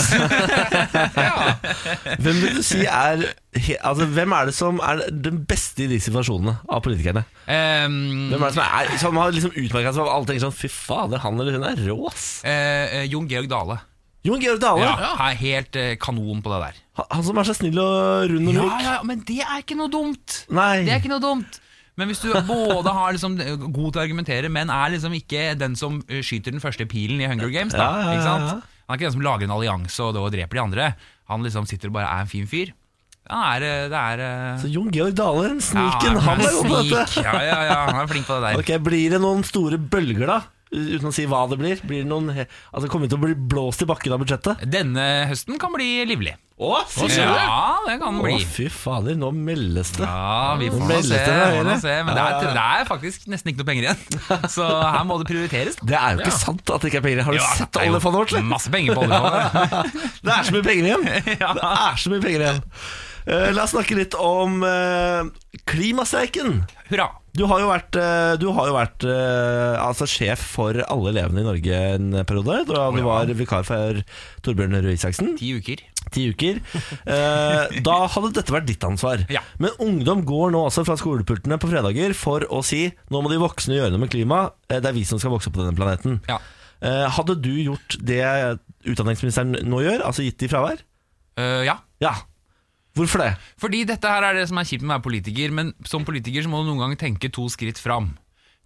Hvem vil du si er he, altså, Hvem er det som er den beste i de situasjonene av politikerne? um, Hvem er det som er, som har liksom utmerket seg av alle tenker sånn Fy fader, han eller hun er rå, ass. eh, Jon Georg Dale. Jon Georg Dale. Ja, er helt eh, kanon på det der. Han- Han som er så snill og rund og Ja, myk. ja, ja, men det er ikke noe dumt. Nei. Det er ikke noe dumt. Men hvis du både har liksom god til å argumentere, men er liksom ikke den som eh, skyter den første pilen i Hunger Games, da, Ja, ja, ja, ikke ja. sant? Han er ikke den som lager en allianse og, da dreper de andre. Han liksom sitter og bare er en fin fyr. Han er, eh, det er eh, Så Jon Georg Dale, ja, sniken, han er god på dette. snik. Ja, ja, ja, han er flink på det der. Ok, Blir det noen store bølger, da? U- Uten å si hva det blir. Blir det noen he- Altså Kommer vi til å bli blåst i bakken av budsjettet? Denne høsten kan bli livlig. Å, sier du det? Ja, det kan Å, den bli. fy fader, nå meldes det. Ja, vi får nå Meldes se. det der, Får nå eller? se. Men det er, det er faktisk nesten ikke noe (laughs) penger igjen, så her må det prioriteres. da. Det er jo ikke sant at det ikke er penger. Har du Jo, sett det er jo oljefondet vårt? eller? Masse penger på (laughs) oljefondet. Det er så mye penger igjen! (laughs) Det er så mye penger igjen. Eh, la oss snakke litt om eh, klimastreiken. Hurra. Du har jo vært, eh, du har jo vært eh, altså sjef for alle elevene i Norge en periode. Da du var vikar for Torbjørn Røe Isaksen. Ti uker. Ti (laughs) uker. Eh, Da hadde dette vært ditt ansvar. Ja. Men ungdom går nå også fra skolepultene på fredager for å si nå må de voksne gjøre noe med klimaet. Eh, Det er vi som skal vokse opp på denne planeten. Ja. Eh, Hadde du gjort det utdanningsministeren nå gjør, altså gitt de fravær? Eh, ja. Ja. Hvorfor det? Fordi dette her er det som er kjipt med å være politiker, men som politiker så må du noen ganger tenke to skritt fram.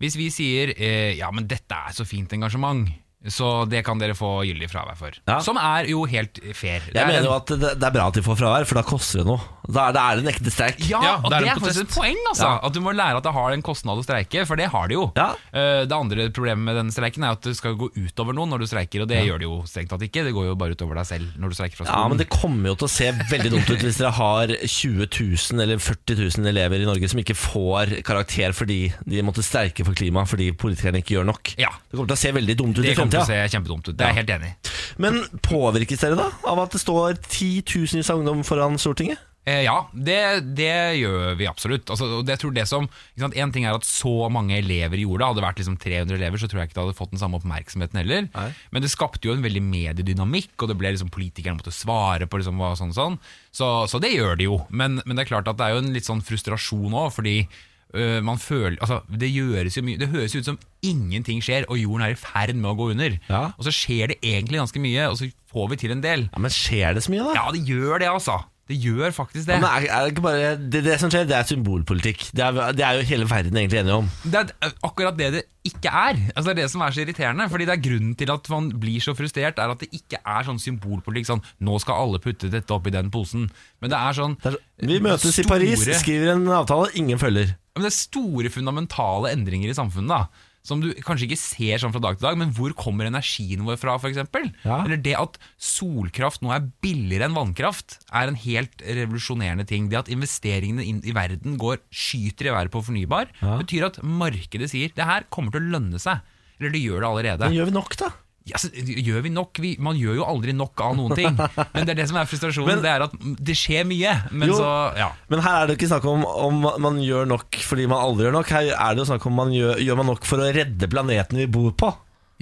Hvis vi sier eh, ja, men dette er så fint engasjement, så det kan dere få gyldig fravær for. Ja. Som er jo helt fair. Det Jeg er mener en- jo at det, det er bra at de får fravær, for da koster det noe. Da er, da er det en ekte streik. Ja, Ja, og det er det er, en faktisk et protest. poeng, altså. At du må lære at det har en kostnad å streike, for det har det jo. Ja. Eh, Det andre problemet med denne streiken er at det skal gå utover noen når du streiker, og det gjør det jo strengt tatt ikke. Det går jo bare utover deg selv når du streiker fra Ja, men skolen. det kommer jo til å se veldig dumt ut hvis dere har 20 000 eller 40 000 elever i Norge som ikke får karakter fordi de måtte streike for klima fordi politikerne ikke gjør nok. Ja. Det kommer til å se veldig dumt ut det i kommer til å fremtida. se kjempedumt ut. Det er jeg helt enig i. Men påvirkes dere da av at det står titusenvis av ungdom foran Stortinget? Eh, ja, det, det gjør vi absolutt. Altså, og det, jeg tror det som, ikke sant? En ting er at så mange elever gjorde det. Hadde det vært liksom 300 elever, så tror jeg ikke det hadde fått den samme oppmerksomheten heller. Men det skapte jo en veldig mediedynamikk, og det ble liksom politikerne måtte svare på liksom, hva sånn og sånn. Så, så det gjør det jo. Men, men det er klart at det er jo en litt sånn frustrasjon òg, fordi øh, man føler, altså, det, gjøres jo mye, det høres ut som ingenting skjer, og jorden er i ferd med å gå under. Ja. Og så skjer det egentlig ganske mye, og så får vi til en del. Ja, Men skjer det så mye, da? Ja, det gjør det, altså. Det gjør faktisk det. Men er, er det, ikke bare, det, det som skjer, det er symbolpolitikk. Det er, det er jo hele verden egentlig enige om. Det er eh, akkurat det det ikke er. Altså det er det som er så irriterende. Fordi det er grunnen til at man blir så frustrert, er at det ikke er sånn symbolpolitikk. Sånn 'nå skal alle putte dette oppi den posen'. Men det er sånn Det er, så- vi møtes i Paris, store- skriver en avtale, ingen følger. Men det er store fundamentale endringer i samfunnet da som du kanskje ikke ser sånn fra dag til dag, men hvor kommer energien vår fra, f.eks.? Ja. Eller det at solkraft nå er billigere enn vannkraft, er en helt revolusjonerende ting. Det at investeringene inn i verden går skyter i været på fornybar, betyr at markedet sier det her kommer til å lønne seg. Eller det gjør det allerede. Men gjør vi nok, da? Ja, så gjør vi nok? Vi, man gjør jo aldri nok av noen (laughs) ting. Men det er det som er frustrasjonen. det er at det skjer mye, men Jo. så ja. Men her er det jo ikke snakk om om man gjør nok fordi man aldri gjør nok. Her er det jo snakk om man gjør, gjør man nok for å redde planeten vi bor på.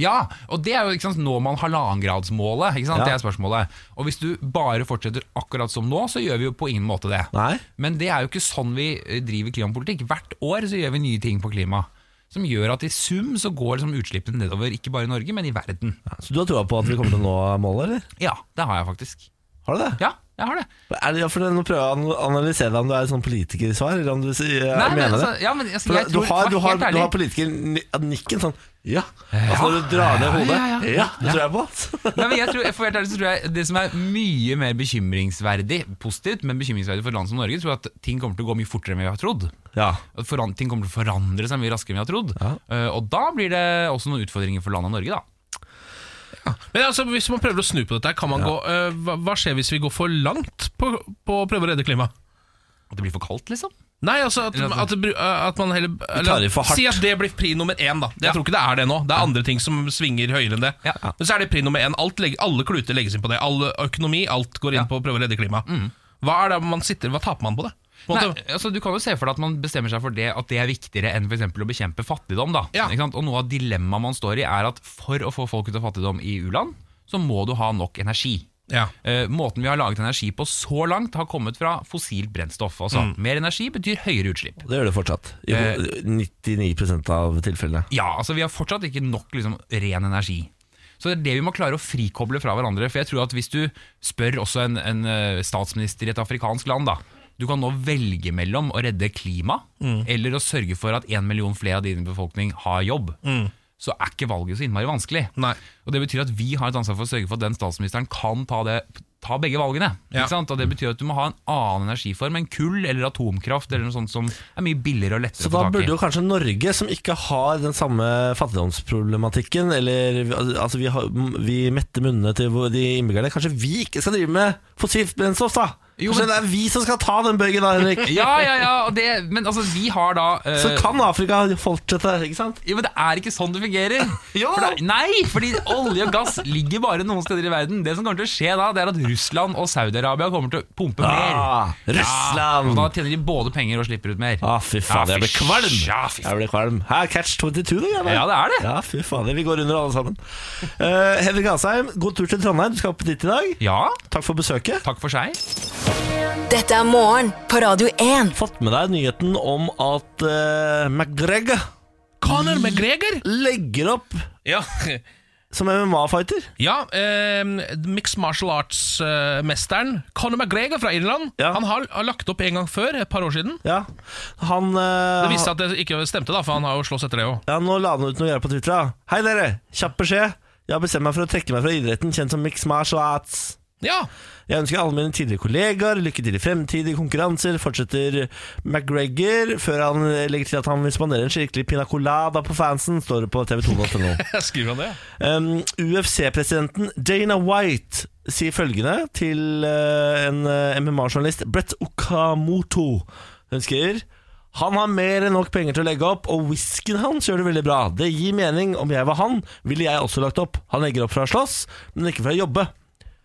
ja, og det er jo ikke sant, når man halvannengradsmålet. Ikke sant? Ja. Det er spørsmålet. Og hvis du bare fortsetter akkurat som nå, så gjør vi jo på ingen måte det. Nei. Men det er jo ikke sånn vi eh, driver klimapolitikk. Hvert år så gjør vi nye ting på klima. Som gjør at i sum så går liksom utslippene nedover, ikke bare i Norge, men i verden. Så du har troa på at vi kommer til å nå målet, eller? Ja, det har jeg faktisk. Har du det? Ja, jeg har det. Er det for Nå prøver jeg å analysere deg om du er et sånn politikersvar, eller om du sier, Nei, men mener altså, det. ja, men, altså, For jeg du tror- har, du helt har, du ærlig- har politikernikken sånn Ja. Altså når du drar ned hodet. Ja, ja, ja. det tror jeg på. altså. ass. Nei, men jeg tror, for helt ærlig så tror jeg Det som er mye mer bekymringsverdig Positivt, men bekymringsverdig for et land som Norge Tror jeg at ting kommer til å gå mye fortere enn vi har trodd Ja. (laughs) At foran, Ting kommer til å forandre seg mye raskere enn vi har trodd Eh, Og da blir det også noen utfordringer for landet Norge da Men altså, Hvis man prøver å snu på dette, her, kan man gå, eh, hva, hva skjer hvis vi går for langt på, på å prøve å redde klimaet? At det blir for kaldt liksom Nei, altså at, Eller at- at, det bru- at man heller tar i for hardt. Si at det blir pri nummer én, da. Jeg Ja. tror ikke det er det nå. Det er andre ting som svinger høyere enn det. Ja. Men så er det pri nummer én. Alt legg- alle kluter legges inn på det. All økonomi, alt går inn på å prøve å redde klimaet. Hva er det man sitter Hva taper man på det? På en Nei, måte- altså, du kan jo se for deg at man bestemmer seg for det at det er viktigere enn for eksempel å bekjempe fattigdom. Da. Ja. Ikke sant? Og Noe av dilemmaet man står i, er at for å få folk ut av fattigdom i u-land, så må du ha nok energi. Ja. Eh, måten vi har laget energi på så langt, har kommet fra fossilt brennstoff. Altså, Mm. Mer energi betyr høyere utslipp. Det gjør det fortsatt. I Eh. 99 av tilfellene. Ja, altså Vi har fortsatt ikke nok liksom, ren energi. Så Det er det vi må klare å frikoble fra hverandre. For jeg tror at Hvis du spør også en, en eh, statsminister i et afrikansk land da, Du kan nå velge mellom å redde klima eller å sørge for at en million flere av din befolkning har jobb. så er ikke valget så innmari vanskelig. Nei. Og Det betyr at vi har et ansvar for å sørge for at den statsministeren kan ta, det, ta begge valgene. Ja. Ikke sant? Og Det betyr at du må ha en annen energiform enn kull eller atomkraft eller noe sånt som er mye billigere og Så lettere å da få tak burde i. jo kanskje Norge, som ikke har den samme fattigdomsproblematikken Eller altså, vi, har, vi metter munnene til hvor- de innbyggerne Kanskje vi ikke skal drive med fossilt brennstoff, da? Jo, kanskje men- det er vi som skal ta den bøygen, da, Henrik? (laughs) Ja, ja, ja, og det, men altså, vi har da eh, Så kan Afrika fortsette, ikke sant? Jo, men det er ikke sånn det (laughs) fungerer. For det, nei, fordi olje og gass ligger bare noen steder i verden. Det som kommer til å skje da, det er at Russland og Saudi-Arabia kommer til å pumpe mer. Ah, Og da Russland! tjener de både penger og slipper ut mer. Ah, fy faen, Ja, jeg ble fy kvalm! sja, fy Jeg ble kvalm. Her, catch 22, da. jævla. Ja, det er det. Ja, fy faen, vi går under alle sammen. Eh, Henrik Asheim, god tur til Trondheim. Du skal opp dit i dag. Ja, Takk for besøket. takk for seg. Dette er morgen på Radio 1. fått med deg nyheten om at eh, McGregor Conor McGregor! legger opp Ja, som MMA-fighter. (laughs) ja eh, Mixed martial arts-mesteren Conor McGregor fra Irland. Ja. Han har, har lagt opp en gang før, et par år siden. Ja. Han eh, Det viste seg at det ikke stemte, da, for han har jo slåss etter det òg. ja, Nå la han ut noe greier på Twitter. da. Hei, dere! Kjapp beskjed. Jeg har bestemt meg for å trekke meg fra idretten kjent som mixed martial arts. Ja. Jeg ønsker alle mine tidligere kollegaer lykke til i fremtidige konkurranser, fortsetter McGregor, før han legger til at han vil spandere en skikkelig pina colada på fansen, står det på tv2.no. Skriver han det? Um, UFC-presidenten Dana White sier følgende til eh, en eh, MMA-journalist Brett Okamoto. Hun skriver han har mer enn nok penger til å legge opp, og whiskyen hans gjør det veldig bra. Det gir mening. Om jeg var han, ville jeg også lagt opp. Han legger opp fra å slåss, men ikke fra å jobbe.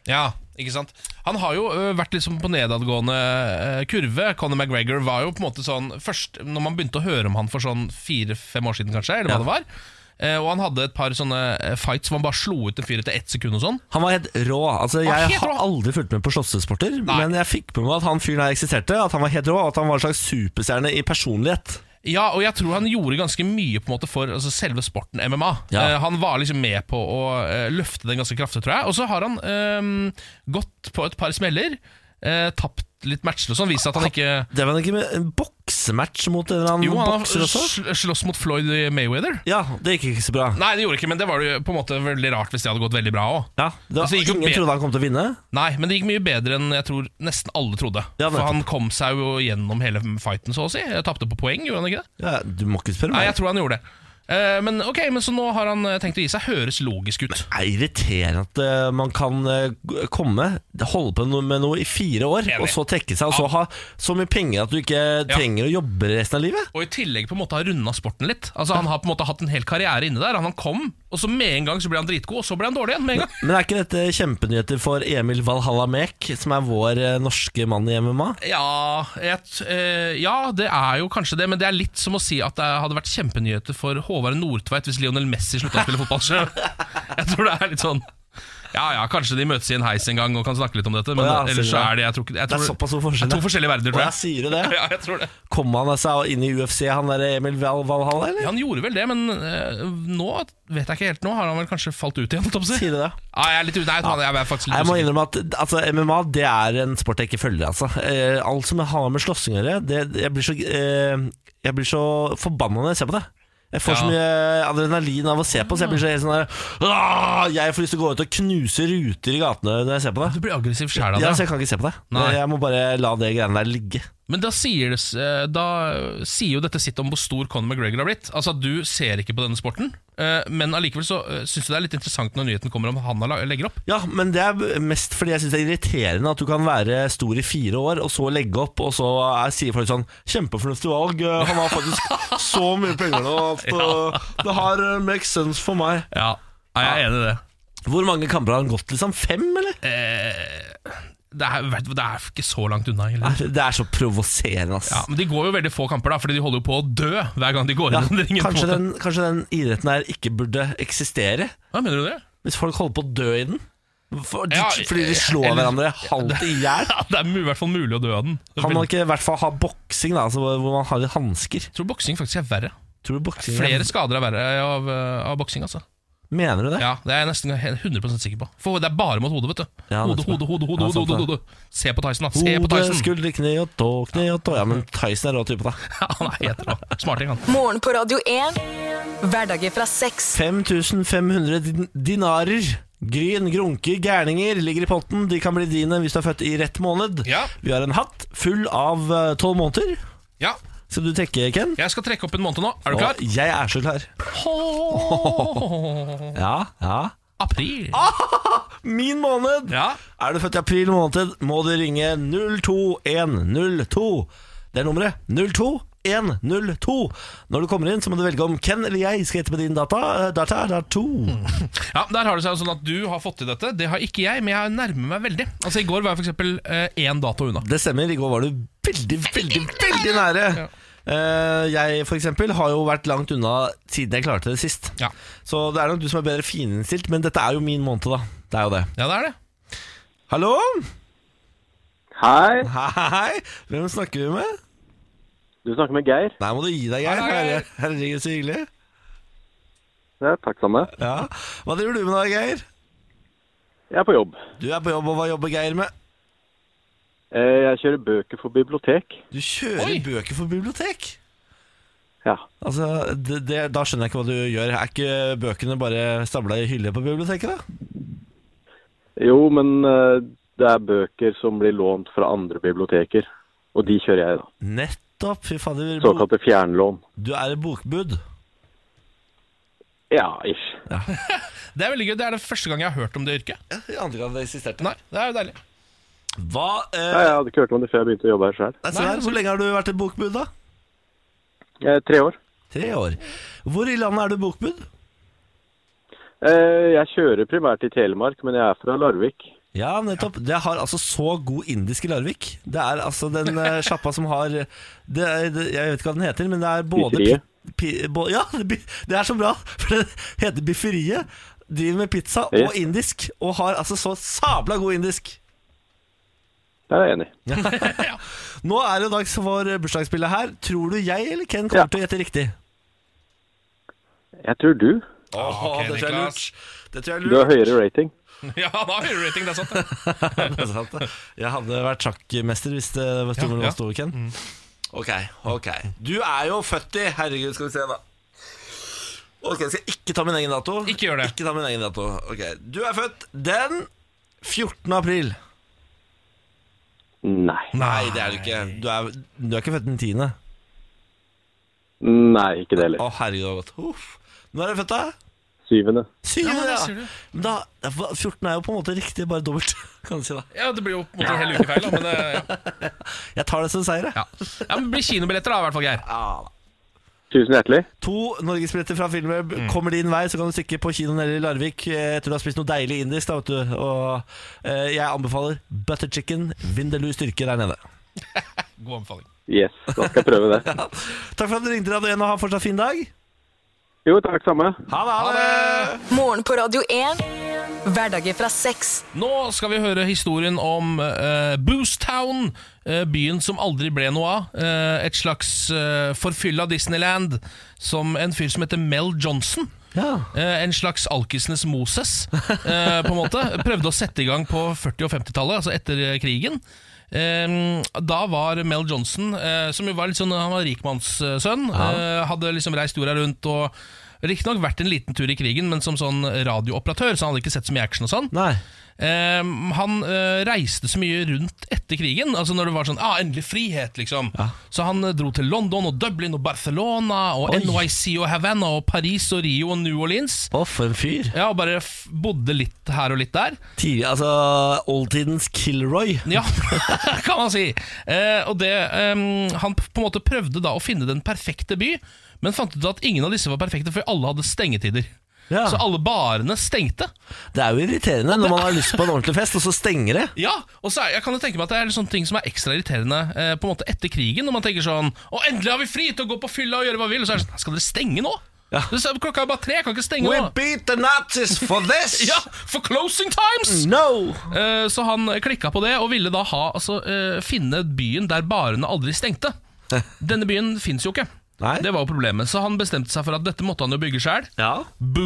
Ja, ikke sant Han har jo ø, vært liksom på nedadgående ø, kurve Conor McGregor var jo på en måte sånn Først når man begynte å høre om han for sånn fire-fem år siden kanskje Eller hva Ja. det var Eh, Og han hadde et par sånne eh, fights Hvor han bare slo ut en fyr etter ett sekund og sånn Han var helt rå. Altså, var jeg helt har rå. aldri fulgt med på slåssesporter, Nei. men jeg fikk med meg at han fyren her eksisterte, at han var helt rå, og at han var en slags superstjerne i personlighet. Ja, og jeg tror han gjorde ganske mye på en måte for altså, selve sporten MMA. Ja. Eh, han var liksom med på å eh, løfte den ganske kraftig, tror jeg. Og så har han ehm, gått på et par smeller, eh, tapt litt matcher og sånn. Vist at han ikke Det var ikke med en boksematch mot en eller annen Jo, han har bokser også? sl- slåss mot Floyd Mayweather. Ja, det gikk ikke så bra. Nei, det gjorde ikke, men det var jo på en måte veldig rart hvis det hadde gått veldig bra òg. Ja, det var, Altså, ikke Ingen be- trodde han kom til å vinne. Nei, men det gikk mye bedre enn jeg tror nesten alle trodde. Ja, For nettopp. han kom seg jo gjennom hele fighten, så å si. Jeg Tapte på poeng, gjorde han ikke det? Ja, du må ikke spørre Nei, meg. jeg tror han gjorde det. Eh, men ok, men så nå har han eh, tenkt å gi seg. Høres logisk ut. Det er irriterende at eh, man kan eh, g- komme, holde på noe- med noe i fire år, Enig. og så trekke seg, og så ha så mye penger at du ikke trenger å jobbe resten av livet. Og i tillegg på en måte har runda sporten litt. Altså Han har på en måte hatt en hel karriere inne der. Han kom, og så med en gang så ble han dritgod, og så ble han dårlig igjen med en gang. Men er ikke dette kjempenyheter for Emil Valhalla Mek, som er vår eh, norske mann i MMA? Ja, jeg t- eh, ja, det er jo kanskje det, men det er litt som å si at det hadde vært kjempenyheter for Håvard Nordtveit hvis Lionel Messi slutta å spille fotball sjøl. Jeg tror det er litt sånn Ja ja, kanskje de møtes i en heis en gang og kan snakke litt om dette, men Å ja, ellers så sier er det jeg tror, ikke- jeg Det er tror, såpass stor forskjell, det er ja. To forskjellige verdener, Og tror jeg jeg. sier jo det. Ja, jeg tror det. Kom han seg inn i UFC, han der Emil Val Valhalla, eller? Han gjorde vel det, men eh, nå vet jeg ikke helt. Nå har han vel kanskje falt ut igjen? holdt jeg på å si. Sier det det? Ah, jeg er litt, u- nei, jeg er faktisk litt Jeg må usikker. innrømme at altså, MMA det er en sport jeg ikke følger. Altså. Eh, alt som har med slåssing å gjøre, det, jeg, blir så, eh, jeg blir så forbanna når jeg ser på det. Jeg får så Ja. mye adrenalin av å se på, så jeg blir så helt sånn der, «Åh, Jeg får lyst til å gå ut og knuse ruter i gatene når jeg ser på det. Du blir aggressiv sjæl av Ja, det. så jeg kan ikke se på det. Nei. Jeg må bare la det greiene der ligge. Men da sier, det, s- eh, da sier jo dette sitt om hvor stor Conor McGregor har blitt. Altså at Du ser ikke på denne sporten, eh, men allikevel så syns du det er litt interessant når nyheten kommer om han har la- legger opp. Ja, men det er mest fordi jeg syns det er irriterende at du kan være stor i fire år, og så legge opp, og så er, sier folk sånn 'Kjempefornuftig valg. eh, Han har (laughs) faktisk så mye penger nå at eh, det har eh, makes sense for meg'. Ja, jeg er enig i det. Hvor mange kamper har han gått? liksom? Fem, eller? Eh, Det er, vet du, det er ikke så langt unna. egentlig. Nei, Det er så provoserende, ass. Ja, men De går jo veldig få kamper, da, fordi de holder jo på å dø hver gang de går Ja, inn i ringen. på en kanskje, måte. den, kanskje den idretten her ikke burde eksistere? Hva mener du det? Hvis folk holder på å dø i den? For, Ja, eh, fordi de slår eller- hverandre halvt i hjel? Ja, Det er mu- i hvert fall mulig å dø av den. Kan man ikke i hvert fall ha boksing, da, altså, hvor man har litt hansker? Jeg tror boksing faktisk er verre. Tror du boksing Flere skader er verre av, eh, av boksing. altså Mener du det? Ja, Det er jeg nesten 100 sikker på. For det er bare mot hodet, vet du. Ja, hode, nettopp. hode, hode, hode, Ja, hode, sant hode, det. hode. Se på Tyson, da. Se på Hode, Tyson. (laughs) skulder, kne og tå, kne og tå. Ja, men Tyson er rå type, da. Ja, han er helt rå. Smarting, han. Morgen på Radio 1. Hverdager fra seks. 5500 din- dinarer. Gryn, grunker, gærninger ligger i potten. De kan bli dine hvis du er født i rett måned. Ja. Vi har en hatt full av eh, tolv måneder. Ja, Skal du trekke, Ken? jeg skal trekke opp en måned nå. Er du klar? Og jeg er så klar. Ja, ja. (laughs) April. Ah! Min måned! Ja. Er du født i april måned, må du ringe 02102. Det er nummeret. 02102. Når du kommer inn, så må du velge om Ken eller jeg skal hete med din data. Eh, Data er da to. Ja, Der har det seg jo sånn at du har fått til dette. Det har ikke jeg, men jeg nærmer meg veldig. Altså I går var jeg for eksempel eh, én dato unna. Det stemmer. I går var du veldig, veldig, veldig nære. Eh, jeg for eksempel har jo vært langt unna siden jeg klarte det sist. Ja. Så det er nok du som er bedre fininnstilt, men dette er jo min måned, da. Det er jo det. Ja, det er det. Hallo? Hei, Hei, hvem snakker vi med? du snakker med Geir. Nei, må du gi deg, Geir. Hei, hei, hei. Herre- Herregud, så hyggelig. Ja, takk samme. Ja. Hva driver du med da, Geir? Jeg er på jobb. Du er på jobb, og hva jobber Geir med? Eh, Jeg kjører bøker for bibliotek. Du kjører Oi. bøker for bibliotek. Ja. Altså, det, det, Da skjønner jeg ikke hva du gjør. Er ikke bøkene bare stabla i hyller på biblioteket, da? Jo, men eh, det er bøker som blir lånt fra andre biblioteker. Og de kjører jeg, da. Nettopp. Fy fader. bo- Såkalte fjernlån. Du er et bokbud. Ja, ish. Det er veldig gøy, det er det første gang jeg har hørt om det yrket. I andre grad eksisterte. Nei, Det er jo deilig. Hva Ja, eh, jeg hadde ikke hørt om det før jeg begynte å jobbe her sjøl. nei, se her, Hvor lenge har du vært et bokbud, da? Eh, Tre år. Tre år. Hvor i landet er du bokbud? Eh, Jeg kjører primært i Telemark, men jeg er fra Larvik. Ja, nettopp. Det har altså så god indisk i Larvik. Det er altså den (laughs) eh, sjappa som har det er, det, Jeg vet ikke hva den heter, men det er både Bifferiet. pi, pi, bo, Ja, (laughs) det, bi- det er så bra, for det heter Bifferiet. Driver med pizza og Yes. indisk, og har altså så sabla god indisk. Der er jeg enig. Nå er det jo dags for bursdagsbildet her. Tror du jeg eller Ken Ja. kommer til å gjette riktig? Jeg tror du. Åh, ok, det tror jeg er Niklas. lurt. Det tror jeg er Du lurt. har høyere rating. (laughs) Ja, da har vi rating, det er sant. (laughs) det. Det er sant, det. Jeg hadde vært sjakkmester hvis det var Ja, stor ja, ja. Mm. ja. Ken. Ok, ok. Du er jo 40. Herregud, skal vi se, da. Ok, Jeg skal ikke ta min egen dato. Ikke gjør det. Ikke ta min egen dato. Ok, Du er født den 14. april. Nei. Nei, det er du ikke. Du er, du er ikke født den 10. Nei, ikke det heller. Å, herregud, det var godt. Uff. Når er du født, da? Syvende. Syvende, men det ja. sier du. Men da, hva- 14 er jo på en måte riktig, bare dobbelt. (laughs) Kan du si da Ja, Det blir jo på en måte en hel uke feil, da. Men det, ja. Jeg tar det som seier, jeg. Ja. ja, men det blir kinobilletter, da, i hvert fall, Geir. Ja, da. Tusen hjertelig. To norgesbilletter fra Filmweb Mm. kommer din vei, så kan du stikke på kinoen eller i Larvik eh, etter du har spist noe deilig indisk. da, vet du. Og eh, jeg anbefaler butter chicken, Vindelu styrke der nede. God anbefaling. Yes, da skal jeg prøve det. (laughs) Takk for at du ringte, Radio 1, og ha en fortsatt fin dag. Jo, takk samme. Ha det! Ha det. Morgen på Radio 1. Hverdager fra seks. Nå skal vi høre historien om eh, Boostown, eh, byen som aldri ble noe av. Eh, et slags eh, forfylla Disneyland som en fyr som heter Mel Johnson. Ja. Eh, en slags alkisenes Moses, eh, på en måte. Prøvde å sette i gang på 40- og 50-tallet, altså etter eh, krigen. Eh, da var Mel Johnson, eh, som jo var litt sånn, han var rikmannssønn, eh, hadde liksom reist jorda rundt og Riktignok vært en liten tur i krigen, men som sånn radiooperatør, så han hadde ikke sett så mye action og sånn. Nei. Eh, han eh, reiste så mye rundt etter krigen, altså når det var sånn ah, 'endelig frihet', liksom. Så han eh, dro til London og Dublin og Barcelona og Oi. NYC og Havanna og Paris og Rio og New Orleans. Å, for en fyr. Ja, og bare f bodde litt her og litt der. Tidlig, altså oldtidens Kilroy. Ja, (laughs) kan man si. Eh, og det, ehm, han p- på en måte prøvde da å finne den perfekte by, men fant ut at ingen av disse var perfekte, for alle hadde stengetider. Ja. Så alle barene stengte. Det er jo irriterende når man har lyst på en ordentlig fest, og så stenger (laughs) det. Ja, og så er, jeg kan jo tenke meg at det er sånne ting som er ekstra irriterende eh, På en måte etter krigen, når man tenker sånn Å, endelig har vi fri til å gå på fylla og gjøre hva vi vil Og så er det sånn, skal dere stenge nå? Ja. Det er- Klokka er bare tre, jeg kan ikke stenge We nå beat the Nazis for this! (laughs) Ja, for closing times! No! (laughs) Eh, så han klikka på det, og ville da ha, altså, eh, finne byen der barene aldri stengte. Denne byen fins jo ikke. Nei? Det var jo problemet. Så han bestemte seg for at dette måtte han jo bygge sjøl. Ja.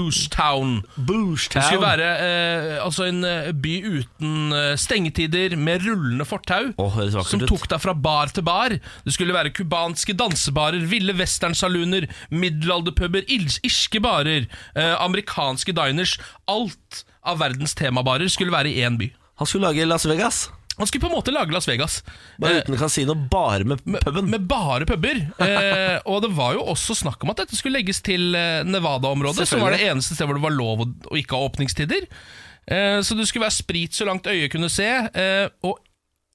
Boostown. Det skulle være eh, altså en eh, by uten eh, stengetider, med rullende fortau. Åh, høres vakkert som ut. tok deg fra bar til bar. Det skulle være cubanske dansebarer, ville westernsaluner, middelalderpuber, ils- irske barer, eh, amerikanske diners. Alt av verdens temabarer skulle være i én by. Han skulle lage Las Vegas. Han skulle på en måte lage Las Vegas. Bare uten kasino, bare med puben. Eh, Med bare puber. Eh, og det var jo også snakk om at dette skulle legges til eh, Nevada-området, som var det eneste stedet hvor det var lov å, å ikke ha åpningstider. Eh, så det skulle være sprit så langt øyet kunne se, eh, og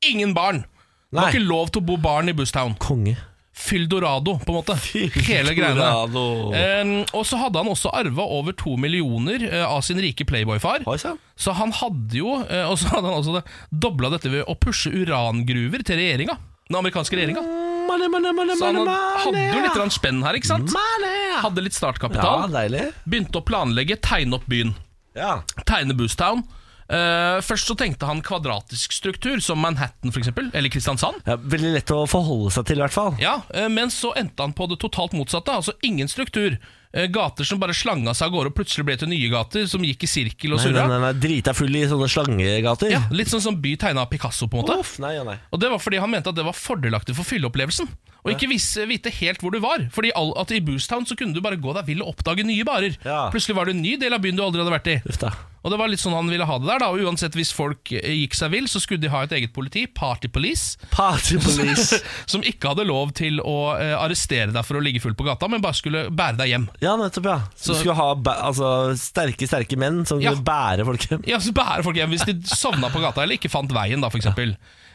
ingen barn. Det Nei. var ikke lov til å bo barn i Bustown. Konge. Fyldorado, på en måte. Hele greiene. Colorado. Eh, og så hadde han også arva over to millioner eh, av sin rike playboyfar. Oi sann. Så han hadde jo, eh, og så hadde han også det- dobla dette ved å pushe urangruver til regjeringa. Den amerikanske regjeringa. Money, money, money, Så han money, had- hadde jo money. litt grann spenn her, ikke sant? Money. Hadde Ja, litt startkapital. deilig. Begynte å planlegge, tegne opp byen. Ja. Tegne Boostown. Eh, først så tenkte han kvadratisk struktur, som Manhattan for eksempel, eller Kristiansand. Ja, veldig lett å forholde seg til, i hvert fall. Ja, eh, Men så endte han på det totalt motsatte, altså ingen struktur. Eh, Gater som bare slanga seg av gårde og plutselig ble til nye gater, som gikk i sirkel og Nei, nei, surra. nei, nei, Drita full i sånne slangegater. Ja, litt sånn som by tegna av Picasso, på en måte. Uff, nei, ja, nei. Og det var fordi han mente at det var fordelaktig for fylleopplevelsen. Og ikke vis- vite helt hvor du var. Fordi all, at I Boostown så kunne du bare gå deg vill og oppdage nye barer. Ja. Plutselig var det en ny del av byen du aldri hadde vært i. Uff da. Og det var litt sånn han ville ha det der. da Og uansett Hvis folk eh, gikk seg vill, så skulle de ha et eget politi, Party Police, Party police. som ikke hadde lov til å eh, arrestere deg for å ligge full på gata, men bare skulle bære deg hjem. (laughs) Ja, nettopp, ja. Så du Så- skulle ha bæ- altså, sterke, sterke menn som Ja. kunne bære folk hjem. Ja, så bære folk hjem hvis de sovna på gata eller ikke fant veien, da, for eksempel.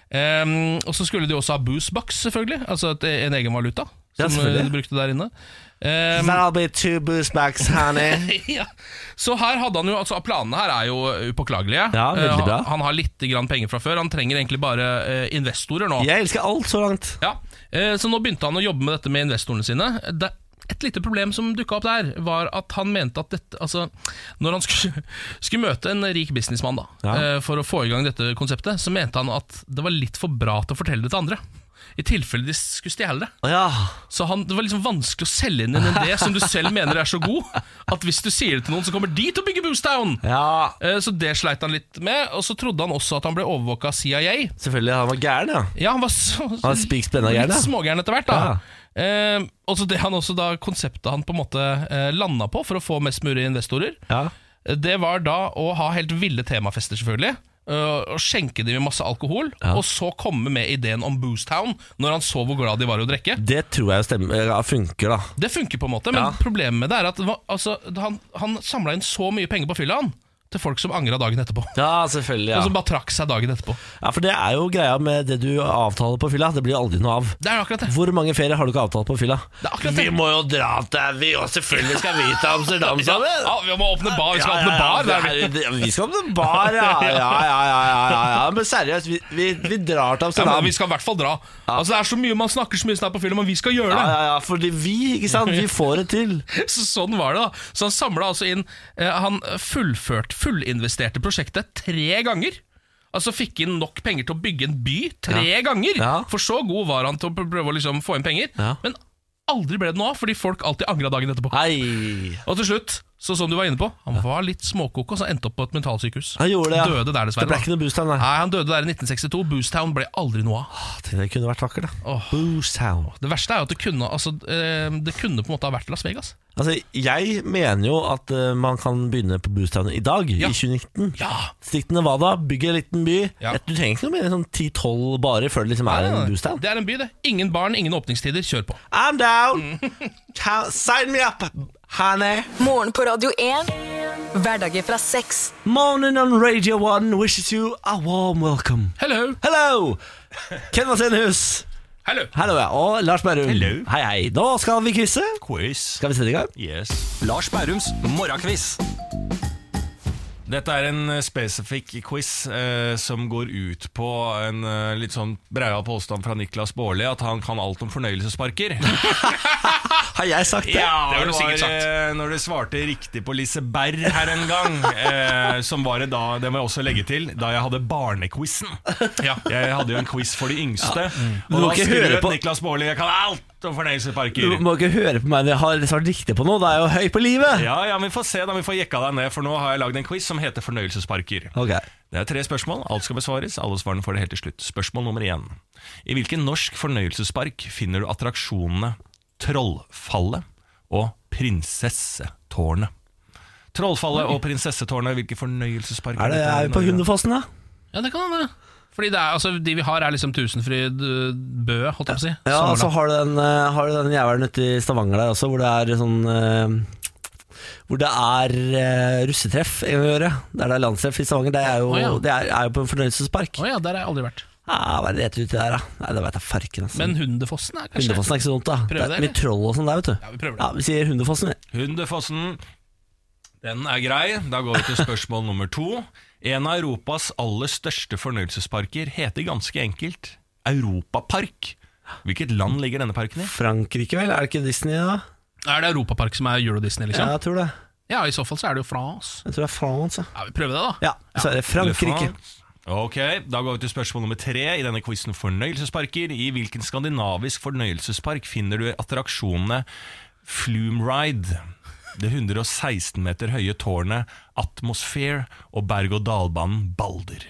Ehm, og så skulle de også ha boosebox, selvfølgelig. Altså et, en egen valuta. Ja, Som eh, selvfølgelig. de brukte der inne. Ehm, (laughs) That'll be two boost bags, honey. ja. Så her hadde han jo altså, Planene her er jo upåklagelige. Ja, veldig Eh, bra. han, han har litt grann penger fra før. Han trenger egentlig bare eh, investorer nå. Jeg elsker alt så langt. Ja. Eh, så nå begynte han å jobbe med dette med investorene sine. Det, et lite problem som dukka opp der, var at han mente at dette Altså, når han skulle, (laughs) skulle møte en rik businessmann da, Ja. eh, for å få i gang dette konseptet, så mente han at det var litt for bra til å fortelle det til andre. I tilfelle de skulle stjele det. Å, Ja. Så han, det var liksom vanskelig å selge inn en idé som du selv mener er så god, at hvis du sier det til noen, så kommer de til å bygge Boostown! ja, Eh, Så det sleit han litt med, og så trodde han også at han ble overvåka av CIA. selvfølgelig. Han var gæren, ja. Ja, han var så, Han er spik spenna gæren, litt ja. smågæren etter hvert, da. Eh, og så det han også da konseptet han på en måte eh, landa på for å få mest mulig investorer, ja. eh, det var da å ha helt ville temafester, selvfølgelig. eh, Og skjenke dem med masse alkohol, og så komme med ideen om Boostown når han så hvor glad de var i å drikke. Det tror jeg stemmer, ja, funker, da. Det funker på en måte, men Ja. problemet med det er at det var, altså, han, han samla inn så mye penger på fylla han, til folk som angra dagen etterpå. Ja, selvfølgelig. Og Ja. som bare trakk seg dagen etterpå. ja, For det er jo greia med det du avtaler på fylla. Det blir aldri noe av. Det er akkurat det. Hvor mange ferier har du ikke avtalt på fylla? Det er akkurat det. Vi må jo dra til Vi og selvfølgelig skal vi til Amsterdam Ja, sammen! ja, vi må åpne bar, vi skal Ja, åpne ja, ja, bar! det er vi. det er- vi skal åpne bar, ja. Ja, ja, ja, ja, ja, ja. Men seriøst, vi, vi, vi drar til Ja, Amsterdam. men vi skal i hvert fall dra. Altså Det er så mye man snakker så mye snart på film, men vi skal gjøre Ja, det! ja, ja, fordi vi, ikke sant, vi får det til. Så sånn var det, (laughs) da. Så han samla altså inn eh, Han fullførte, fullinvesterte prosjektet tre ganger. Altså fikk inn nok penger til å bygge en by tre ganger! Ja. For så god var han til å prøve å liksom få inn penger. Ja. Men aldri ble det noe av, fordi folk alltid angra dagen etterpå. Hei. Og til slutt, så som du var inne på, han var litt småkoko, så endte opp på et mentalsykehus. Han gjorde det, ja. Døde der, Det dessverre. ble da. Ah. ikke noe boost-town, nei. Nei, Han døde der i 1962. Boostown ble aldri noe av. Det kunne vært vakkert, da. Åh. Boost-town. Det verste er jo at det kunne, altså, eh, det kunne på en måte ha vært Las Vegas. Altså, jeg mener jo at eh, man kan begynne på boost-town i dag, i 2019. Ja, Stikk til Nevada, bygg en liten by. Ja. Et- Du trenger ikke noe mer enn sånn 10-12 barer før det liksom er en boost-town. Det er en by, det. Ingen barn, ingen åpningstider. Kjør på. I'm down! Mm. (laughs) Count- Sign me up, honey! Morgen på Radio 1. Hverdager fra seks. Morning on Radio 1 wishes you a warm welcome. Hello! Hello! Ken Vasenhus. Hello! Hallo, ja. Og Lars Berrum. Hello. Hei, hei. Nå skal vi quize. Quiz. Skal vi sette i gang? Yes. Lars Bærums morgenkviss. Dette er en eh, spesifikk quiz eh, som går ut på en eh, litt sånn breia påstand fra Niklas Baarli at han kan alt om fornøyelsesparker. Har jeg sagt det? Ja, Det har du sikkert sagt. eh, når du svarte riktig på Liseberg her en gang. eh, som var det da, det må jeg også legge til, da jeg hadde barnequizen. Ja. Jeg hadde jo en quiz for de yngste. Du må Og da ikke høre skrøt på- Niklas Baarli Jeg kan alt om fornøyelsesparker. Du må ikke høre på meg når jeg har svart riktig på noe. Da er jeg jo høy på livet! Ja, ja, men Vi får se, da vi får jekka deg ned, for nå har jeg lagd en quiz som heter Fornøyelsesparker. Ok. Det er tre spørsmål, alt skal besvares, alle svarene får det helt til slutt. Spørsmål nummer én. I hvilken norsk fornøyelsespark finner du attraksjonene Trollfallet og Prinsessetårnet? Trollfallet og Prinsessetårnet, hvilke fornøyelsesparker Er, det, er vi på i Norge? Hundefossen, da? Ja, det kan hende. Fordi det er, altså, De vi har, er liksom Tusenfryd, øh, Bø, holdt jeg på å si. Ja, Sommerland. og så har du den, eh, har du den jævelen ute i Stavanger der også, hvor det er sånn eh, Hvor det er eh, russetreff en gang i året. Der det er landstreff i Stavanger. Det er jo, Å, ja. det er, er jo på en fornøyelsespark. Å ja, der har jeg aldri vært. Ah, hva er det rett uti der, da? Nei, det veit jeg farken. Altså. Men Hundefossen er kanskje Hundefossen er ikke så dumt, da. Prøv det det, er mye eller? troll og sånn der, vet du. Ja, vi prøver det. Ja, Vi sier Hundefossen, vi. Hundefossen, den er grei. Da går vi til spørsmål nummer to. En av Europas aller største fornøyelsesparker heter ganske enkelt Europapark. Hvilket land ligger denne parken i? Frankrike, vel? Er det ikke Disney, da? Er det Europapark som er Euro Ja, Disney, liksom? jeg tror det. Ja. i så fall så er det jo France. Jeg tror det er France, ja. Ja, vi prøver det, da. Ja, så er det Frankrike. Elefant. Ok, Da går vi til spørsmål nummer tre i denne quizen fornøyelsesparker. I hvilken skandinavisk fornøyelsespark finner du attraksjonene Flumeride, det 116 meter høye tårnet Atmosphere og berg-og-dal-banen Balder?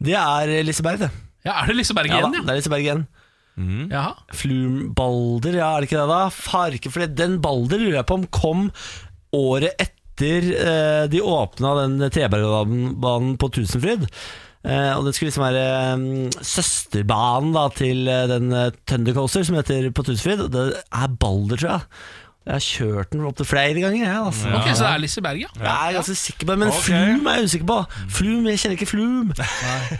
Det er Liseberg, det. Ja, Er det Liseberg Ja, da, igjen, det ja? er Liseberg igjen. Jaha. Flumbalder, ja, er det ikke det da? Farke, for den Balder lurer jeg på om kom året etter eh, de åpna den trebergbanen på Tusenfryd. Eh, og det skulle liksom være eh, søsterbanen da til eh, den eh, Thundercoaster som heter på Tusenfryd. Og Det er Balder, tror jeg. Jeg har kjørt den opp til flere ganger, jeg. Altså. Ok, så det er Liseberg, ja. Jeg er ganske sikker på det, men Ok. Flum er jeg usikker på. Flum, jeg kjenner ikke Flum.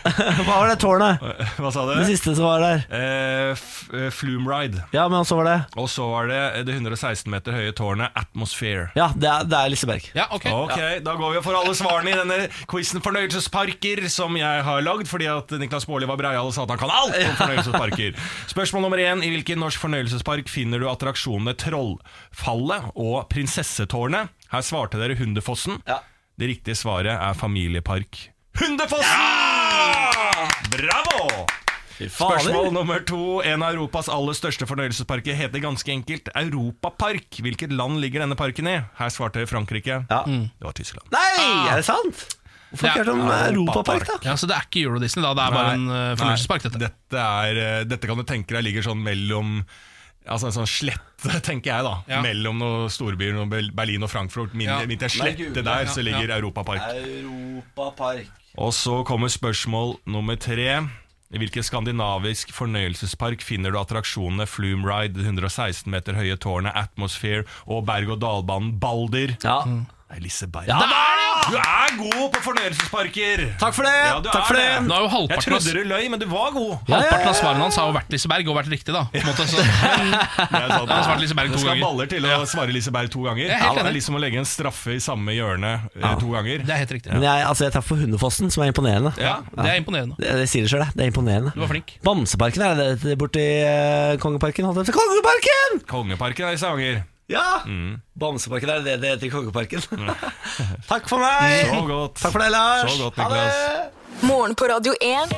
(laughs) Hva var det tårnet? Hva sa Det du? siste som var der. Eh, f- eh, Flumeride. Ja, men så var det Og så var det det 116 meter høye tårnet Atmosphere. Ja, det er, det er Liseberg. Ja, ok. Ok, Da går vi for alle svarene i denne quizen fornøyelsesparker som jeg har lagd fordi at Niklas Baarli var breial og sa at han kan alt om (laughs) fornøyelsesparker. Spørsmål nummer én. I hvilken norsk fornøyelsespark finner du attraksjonene Trollfallet og Prinsessetårnet? Her svarte dere Hundefossen. Ja. Det riktige svaret er Familiepark Hundefossen! Bravo! Spørsmål nummer to. En av Europas aller største fornøyelsesparker heter ganske enkelt Europapark. Hvilket land ligger denne parken i? Her svarte Frankrike. Ja. Det var Tyskland. Nei, er det sant? Hvorfor ikke Ja. hørt om eh, Europapark, da? Ja, Så det er ikke Euro Disney, da. Det er bare en uh, fornøyelsespark, dette. Dette, er, eh, dette kan du tenke deg ligger sånn mellom Altså en sånn slette, tenker jeg, da. Ja. Mellom noen storbyer, noen Bel- Berlin og Frankfurt. Min, Ja. Midt i en slette der så ligger Europapark. Europapark. Og så kommer spørsmål nummer tre. I hvilken skandinavisk fornøyelsespark finner du attraksjonene Flumeride, det 116 meter høye tårnet Atmosphere og berg-og-dal-banen Balder? Ja. Nei, Liseberg. Mm. Ja, Du er god på fornøyelsesparker! Takk for det! Ja, du Takk er for det! Nå er jo Jeg halvparten av, trodde du løy, men du var god. halvparten av svarene hans har jo vært Liseberg, og vært riktig, da. På en måte, (laughs) så. Det er sant. har svart Liseberg Det to skal ganger. baller til å svare Liseberg to ganger. er helt det enig. er liksom å legge en straffe i samme hjørne eh, to ganger. Det er helt riktig. Men jeg, altså, jeg traff på Hundefossen, som er imponerende. Ja, Det er imponerende. Det, det sier det sjøl, det. Det er imponerende. Du var flink. Bamseparken, er det det borti eh, Kongeparken? Holdt jeg på å si. Kongeparken! Kongeparken er i Stavanger. Ja! Mm. Bamseparken, er det det det heter i Kongeparken? (laughs) Takk for meg! Så godt. Takk for deg, Lars. Så godt, Ha det! Morgen på Radio 1.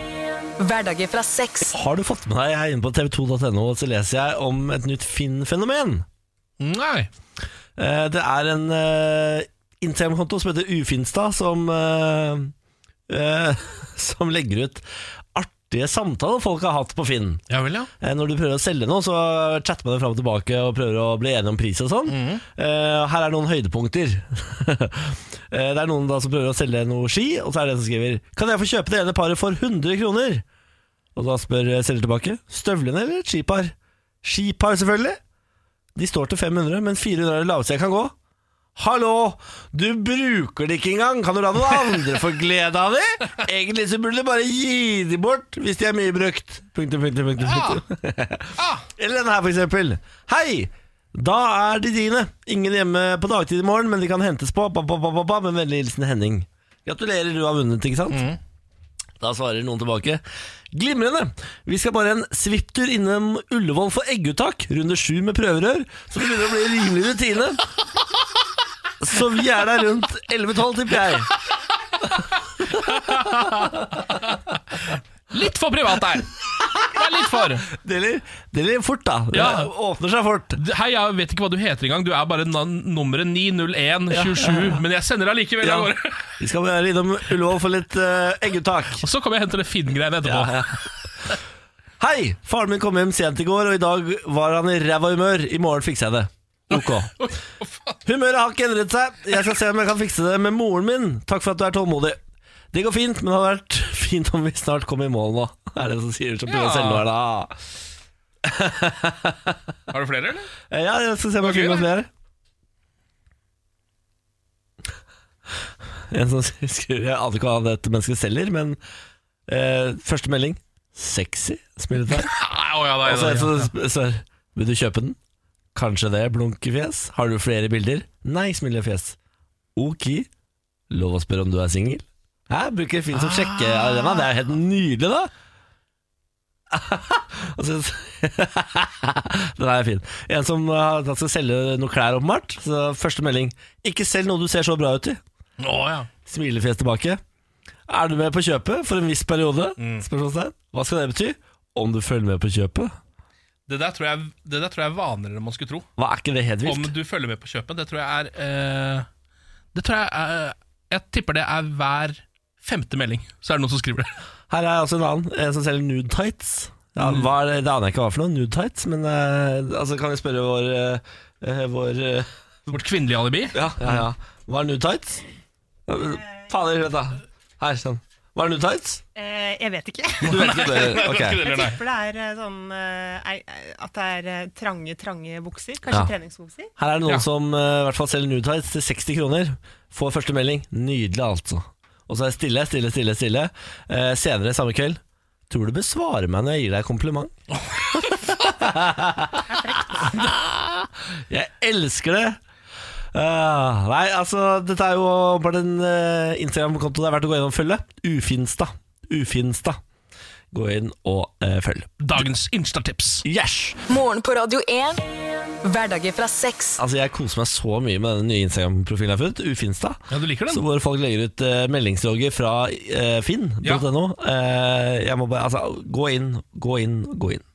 Hverdager fra seks. Har du fått med deg her inne på tv2.no, så leser jeg om et nytt Finn-fenomen. Nei. Eh, Det er en uh, Instagram-konto som heter Ufinstad, som, eh, (laughs) eh, som legger ut artige samtaler folk har hatt på Finn. Ja vel, ja. Eh, Når du prøver å selge noe, så chatter man det fram og tilbake og prøver å bli enige om pris og sånn. Eh, her er noen høydepunkter. (laughs) Eh, det er noen da som prøver å selge noe ski, og så er det en som skriver Kan jeg få kjøpe det ene paret for 100 kroner? Og da spør eh, selger tilbake Støvlene eller et skipar? Skipar, selvfølgelig. De står til 500, men 400 er det laveste jeg kan gå. Hallo, du bruker det ikke engang. Kan du la noen andre få glede av det? Egentlig så burde du bare gi de bort hvis de er mye brukt. Punktum, punktum, punktum. punktum. Eller denne her, for eksempel. Hei! Da er de dine. Ingen hjemme på dagtid i morgen, men de kan hentes på. Ba, ba, ba, ba, ba, med vennlig hilsen Henning. Gratulerer, du har vunnet, ikke sant? Da svarer noen tilbake. Glimrende! Vi skal bare en svipptur innom Ullevål for egguttak. Runde sju med prøverør. Så det begynner å bli rimelig rutine. Så vi er der rundt 11-12, tipper jeg. Litt for privat der. Det er litt for. Deler, deler fort, da. Det Ja. åpner seg fort. Hei, jeg vet ikke hva du heter engang. Du er bare na- nummeret 90127. Men jeg sender deg likevel Ja. av gårde. Vi skal være innom Ullevål for litt eh, egguttak. Og så kommer jeg og henter det Finn-greiene etterpå. Ja, (laughs) Hei! Faren min kom hjem sent i går, og i dag var han i ræva humør. I morgen fikser jeg det. Ok. (laughs) Humøret har ikke endret seg. Jeg skal se om jeg kan fikse det med moren min. Takk for at du er tålmodig. Det går fint, men det hadde vært (laughs) fint om vi snart kom i mål nå. (laughs) Er det som sier som prøver Ja. å selge noe her, da. Har du flere, eller? Eh, Ja, jeg skal se om jeg Det finner var noen flere. En som (laughs) skriver Jeg aner ikke hva dette mennesket selger, men eh, første melding sexy, smiletegn. Nei, å ja, da, Og så ja, er det da, sånn sp- så, er- Vil du kjøpe den? Kanskje det, blunkefjes Har du flere bilder? Nei, smilefjes Ok, lov å spørre om du er single Hæ, bruker Finn som sjekkearena Det er helt nydelig da (laughs) Og så- (laughs) Den er fin En som eh, har- han skal selge noen klær åpenbart Så første melding Ikke selg noe du ser så bra ut i ja. Å, ja. Smilefjes tilbake. Er du med på kjøpet for en viss periode? Spørsmålstegn. Hva skal det bety? Om du følger med på kjøpet? Det, der tror jeg, det der tror jeg er vanligere enn man skulle tro. Hva er ikke det helt Om vilt? du følger med på kjøpet, det tror jeg er eh, Det tror jeg er, Jeg tipper det er hver femte melding, så er det noen som skriver det. Her er altså en annen en som selger nude tights. Ja, Mm. hva er det? det aner jeg ikke hva for noe, nude tights, men eh, altså, kan jeg spørre vår, eh, eh, vår eh, Vårt kvinnelige alibi. Ja, ja, ja. Hva er nude tights? Ja, men, Fader, vent da. Her, sånn. Hva er nude tights? Eh, jeg vet ikke. Du vet ikke (laughs) det? ikke Ok. det, Jeg nei. tipper det er eh, sånn eh, ei- ei- at det er eh, trange, trange bukser. Kanskje Ja. treningsbukser. Her er det noen Ja. som eh, i hvert fall selger nude tights til 60 kroner. Får første melding. Nydelig, altså. Og så er det stille, stille, stille. stille Eh, Senere samme kveld. Tror du besvarer meg når jeg gir deg kompliment? jeg elsker det! Ah, nei, altså, dette er jo bare en eh, Instagram-konto det er verdt å gå inn og følge. Ufinstad. Ufinstad. Gå inn og eh, følg. Dagens Insta-tips. Yes! Morgen på Radio 1. Hverdager fra seks. Altså, jeg koser meg så mye med den nye Instagram-profilen jeg har funnet, Ufinstad. Ja, du liker den? Så hvor folk legger ut eh, meldingslogger fra eh, finn.no. Ja. Eh, jeg må bare Altså, gå inn, gå inn, gå inn.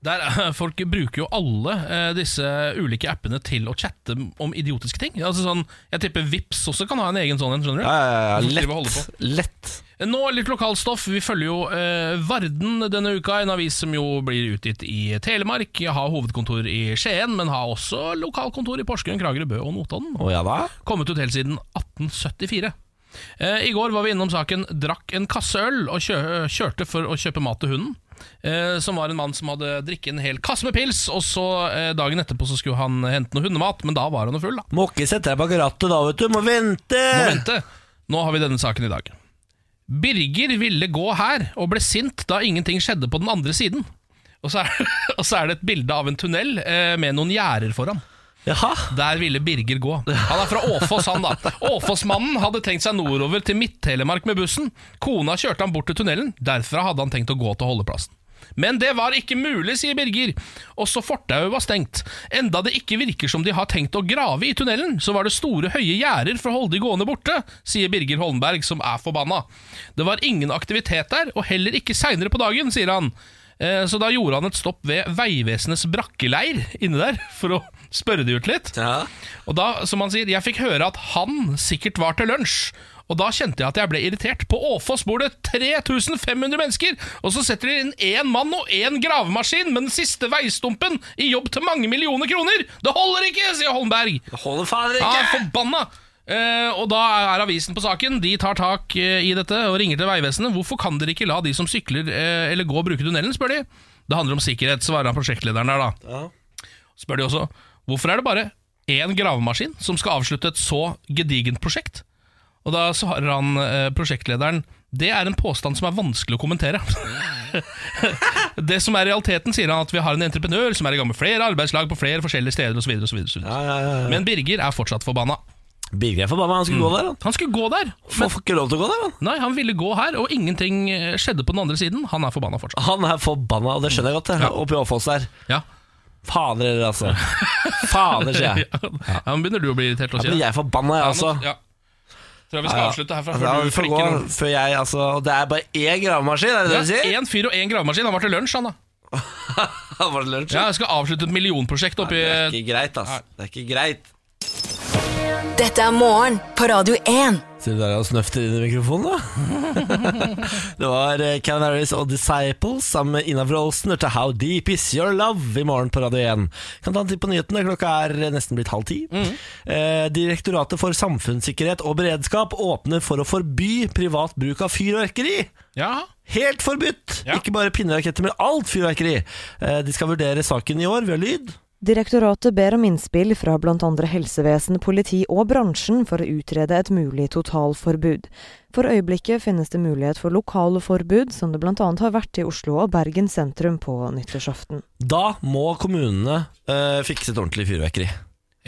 Der, eh, folk bruker jo alle eh, disse ulike appene til å chatte om idiotiske ting. Altså sånn, Jeg tipper Vips også kan ha en egen sånn en. skjønner du? Ja, ja, ja, Hvorfor ja. driver vi og holder Lett. Lett. Nå litt lokalstoff. Vi følger jo eh, Varden denne uka, en avis som jo blir utgitt i Telemark. Jeg har hovedkontor i Skien, men har også lokalkontor i Porsgrunn, Kragerø, Bø og Notodden. Å ja da. Kommet ut helt siden 1874. Eh, I går var vi innom saken 'drakk en kasse øl' og kjø kjørte for å kjøpe mat til hunden. Eh, som var en mann som hadde drikket en hel kasse med pils, og så eh, dagen etterpå så skulle han hente noe hundemat, men da var han jo full, da. Må ikke sette deg bak rattet da, vet du. Må vente! Må vente. Nå har vi denne saken i dag. Birger ville gå her, og ble sint da ingenting skjedde på den andre siden. Og så er, (laughs) og så er det et bilde av en tunnel eh, med noen gjerder foran. Jaha. Der ville Birger gå. Han er fra Åfoss, han da. Åfossmannen hadde tenkt seg nordover til Midt-Telemark med bussen. Kona kjørte han bort til tunnelen. Derfra hadde han tenkt å gå til holdeplassen. Men det var ikke mulig, sier Birger. Også fortauet var stengt. Enda det ikke virker som de har tenkt å grave i tunnelen, så var det store, høye gjerder for å holde de gående borte, sier Birger Holmberg, som er forbanna. Det var ingen aktivitet der, og heller ikke seinere på dagen, sier han. Eh, Så da gjorde han et stopp ved Vegvesenets brakkeleir inne der, for å spørre de ut litt. Ja. Og da, som han sier, jeg fikk høre at han sikkert var til lunsj. Og da kjente jeg at jeg ble irritert. På Åfoss bor det 3500 mennesker, og så setter de inn én mann og én gravemaskin med den siste veistumpen i jobb til mange millioner kroner! Det holder ikke, sier Holmberg. Holder fader Ja, forbanna! Eh, og da er avisen på saken. De tar tak eh, i dette og ringer til Vegvesenet. Hvorfor kan dere ikke la de som sykler eh, eller går, bruke tunnelen, spør de. Det handler om sikkerhet, svarer han prosjektlederen der, da. Spør de også. Hvorfor er det bare én gravemaskin som skal avslutte et så gedigent prosjekt? Og da svarer han eh, prosjektlederen Det er en påstand som er vanskelig å kommentere. (laughs) det som er realiteten, sier han at vi har en entreprenør som er i gang med flere arbeidslag på flere forskjellige steder osv. Ja, ja, ja, ja. Men Birger er fortsatt forbanna. Birger er forbanna. Han skulle Mm. gå der. Han. Han skulle gå der. Men, får ikke lov til å gå der, han. Nei, han ville gå her, og ingenting eh, skjedde på den andre siden. Han er forbanna fortsatt. Han er forbanna, og det skjønner jeg godt, det, oppi Åfoss der. Ja. Fader heller, (laughs) altså. Fader, sier jeg. Ja, nå begynner du å bli irritert. Ja, men jeg er forbanna, jeg, Ja, nå- altså. Ja. Tror jeg vi skal Ja, ja. avslutte herfra Ja, vi før du får flekker gå noen. før jeg, altså. Og det er bare én gravemaskin, er det det du Ja, sier? (laughs) Én fyr og én gravemaskin. Han var til lunsj, han da. Var det lunsj? Ja, jeg skal avslutte et millionprosjekt oppi Det er ikke greit, ass. Det er ikke greit. Dette er morgen på Radio 1. Sitter du der og snøfter inn i mikrofonen, da? (laughs) det var eh, Canaries og Disciples sammen med Ina Wroldsen. Hørte How Deep Is Your Love i morgen på Radio 1. Kan ta en titt på nyhetene. Klokka er nesten blitt halv ti. Mm. Eh, Direktoratet for samfunnssikkerhet og beredskap åpner for å forby privat bruk av fyrverkeri. Ja. Helt forbudt! Ikke bare pinneraketter, men alt fyrverkeri. Eh, De skal vurdere saken i år. Vi har lyd. Direktoratet ber om innspill fra bl.a. helsevesen, politi og bransjen for å utrede et mulig totalforbud. For øyeblikket finnes det mulighet for lokale forbud, som det bl.a. har vært i Oslo og Bergen sentrum på nyttårsaften. Da må kommunene eh, fikse et ordentlig fyrverkeri.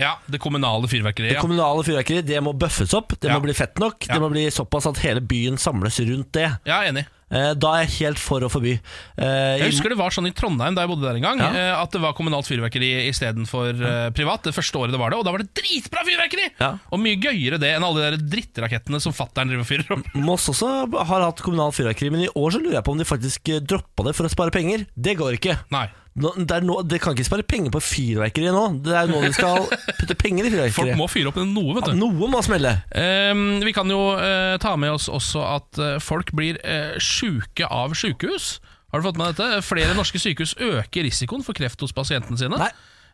Ja, det kommunale fyrverkeriet. Det ja. kommunale fyrverkeriet det må bøffes opp, det må bli fett nok. Det må bli såpass at hele byen samles rundt det. Ja, jeg er enig. Eh, Da er jeg helt for å forby. Eh, Jeg husker det var sånn i Trondheim da jeg bodde der en gang, Ja. eh, at det var kommunalt fyrverkeri istedenfor uh, privat. Det første året det var det, og da var det dritbra fyrverkeri! Og mye gøyere det enn alle de der drittrakettene som fattern driver og fyrer opp. Moss også har hatt kommunal fyrverkeri, men i år så lurer jeg på om de faktisk eh, droppa det for å spare penger. Det går ikke. Nå, det, er nå, det kan ikke spare penger på fyrverkeri nå. Det er nå de (laughs) skal putte penger i fyrverkeri. Folk må fyre opp noe, vet du. noe må smelle. Ehm, vi kan jo eh, ta med oss også at eh, folk blir uh, sjuke av sjukehus. Har du fått med dette? Flere norske sykehus øker risikoen for kreft hos pasientene sine.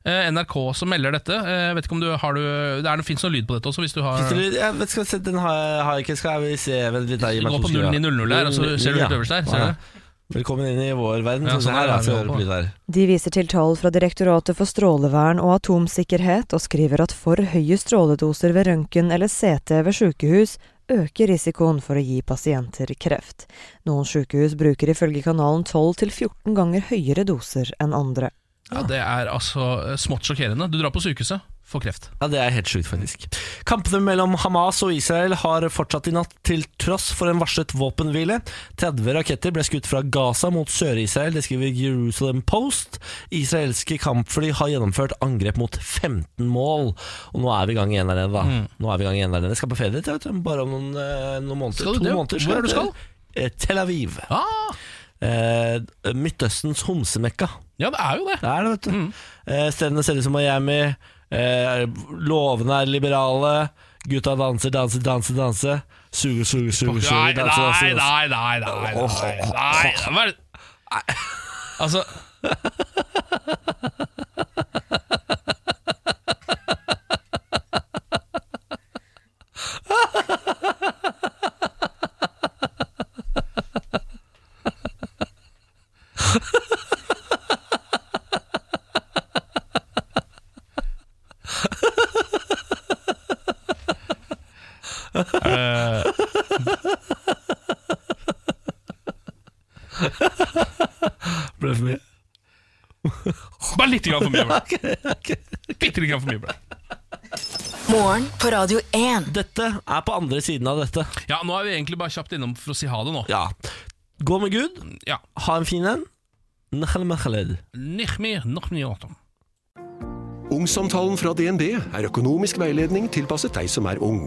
Eh, NRK som melder dette. Eh, vet ikke om du har du, Det, er- det fins noe lyd på dette også, hvis du har Hvis dere- Jeg vet, skal, jeg se- den har jeg, har jeg ikke. Skal vi se vent litt da, gi meg Gå to på sekunder, da. 0900 der, og så ser du helt øverst der, ser du det? Velkommen inn i vår verden. Ja, så sånn her er er det vi det holder på. lyd her. De viser til tall fra Direktoratet for strålevern og atomsikkerhet, og skriver at for høye stråledoser ved røntgen eller CT ved sykehus øker risikoen for å gi pasienter kreft. Noen sykehus bruker ifølge kanalen 12-14 ganger høyere doser enn andre. Ja, Det er altså eh, smått sjokkerende. Du drar på sykehuset, får kreft. Ja, Det er helt sjukt, faktisk. Kampene mellom Hamas og Israel har fortsatt i natt, til tross for en varslet våpenhvile. 30 raketter ble skutt fra Gaza mot Sør-Israel, det skriver Jerusalem Post. Israelske kampfly har gjennomført angrep mot 15 mål. Og nå er vi i gang igjen der nede, da. Mm. Nå er vi i gang igjen der nede. Jeg skal på ferie, vet du. Bare om noen, eh, noen måneder. Skal du to det? måneder. Hvor er du jeg skal? til, eh, Tel Aviv. Eh, Midtøstens homsemekka. Ja, det er jo det. Det er det, vet du. Mm. Eh, stedene ser ut som Miami. Eh, lovene er liberale. Gutta danser, danser, danser, danser. Suger, suger, suger, Nei, suger. nei, danser, danser, nei, danser. nei, nei, nei, nei, nei. Hva er det? Altså Ble det for mye? Bare litt grann for mye. (laughs) ble det. Bitte litt grann for mye. ble det. Morgen på Radio 1. Dette er på andre siden av dette. Ja, nå er vi egentlig bare kjapt innom for å si ha det nå. Ja. Gå med Gud. Ha en fin en. Nahal mahaled. Nicht mehr, noch mehr Atom. Ungsamtalen fra DNB er økonomisk veiledning tilpasset deg som er ung.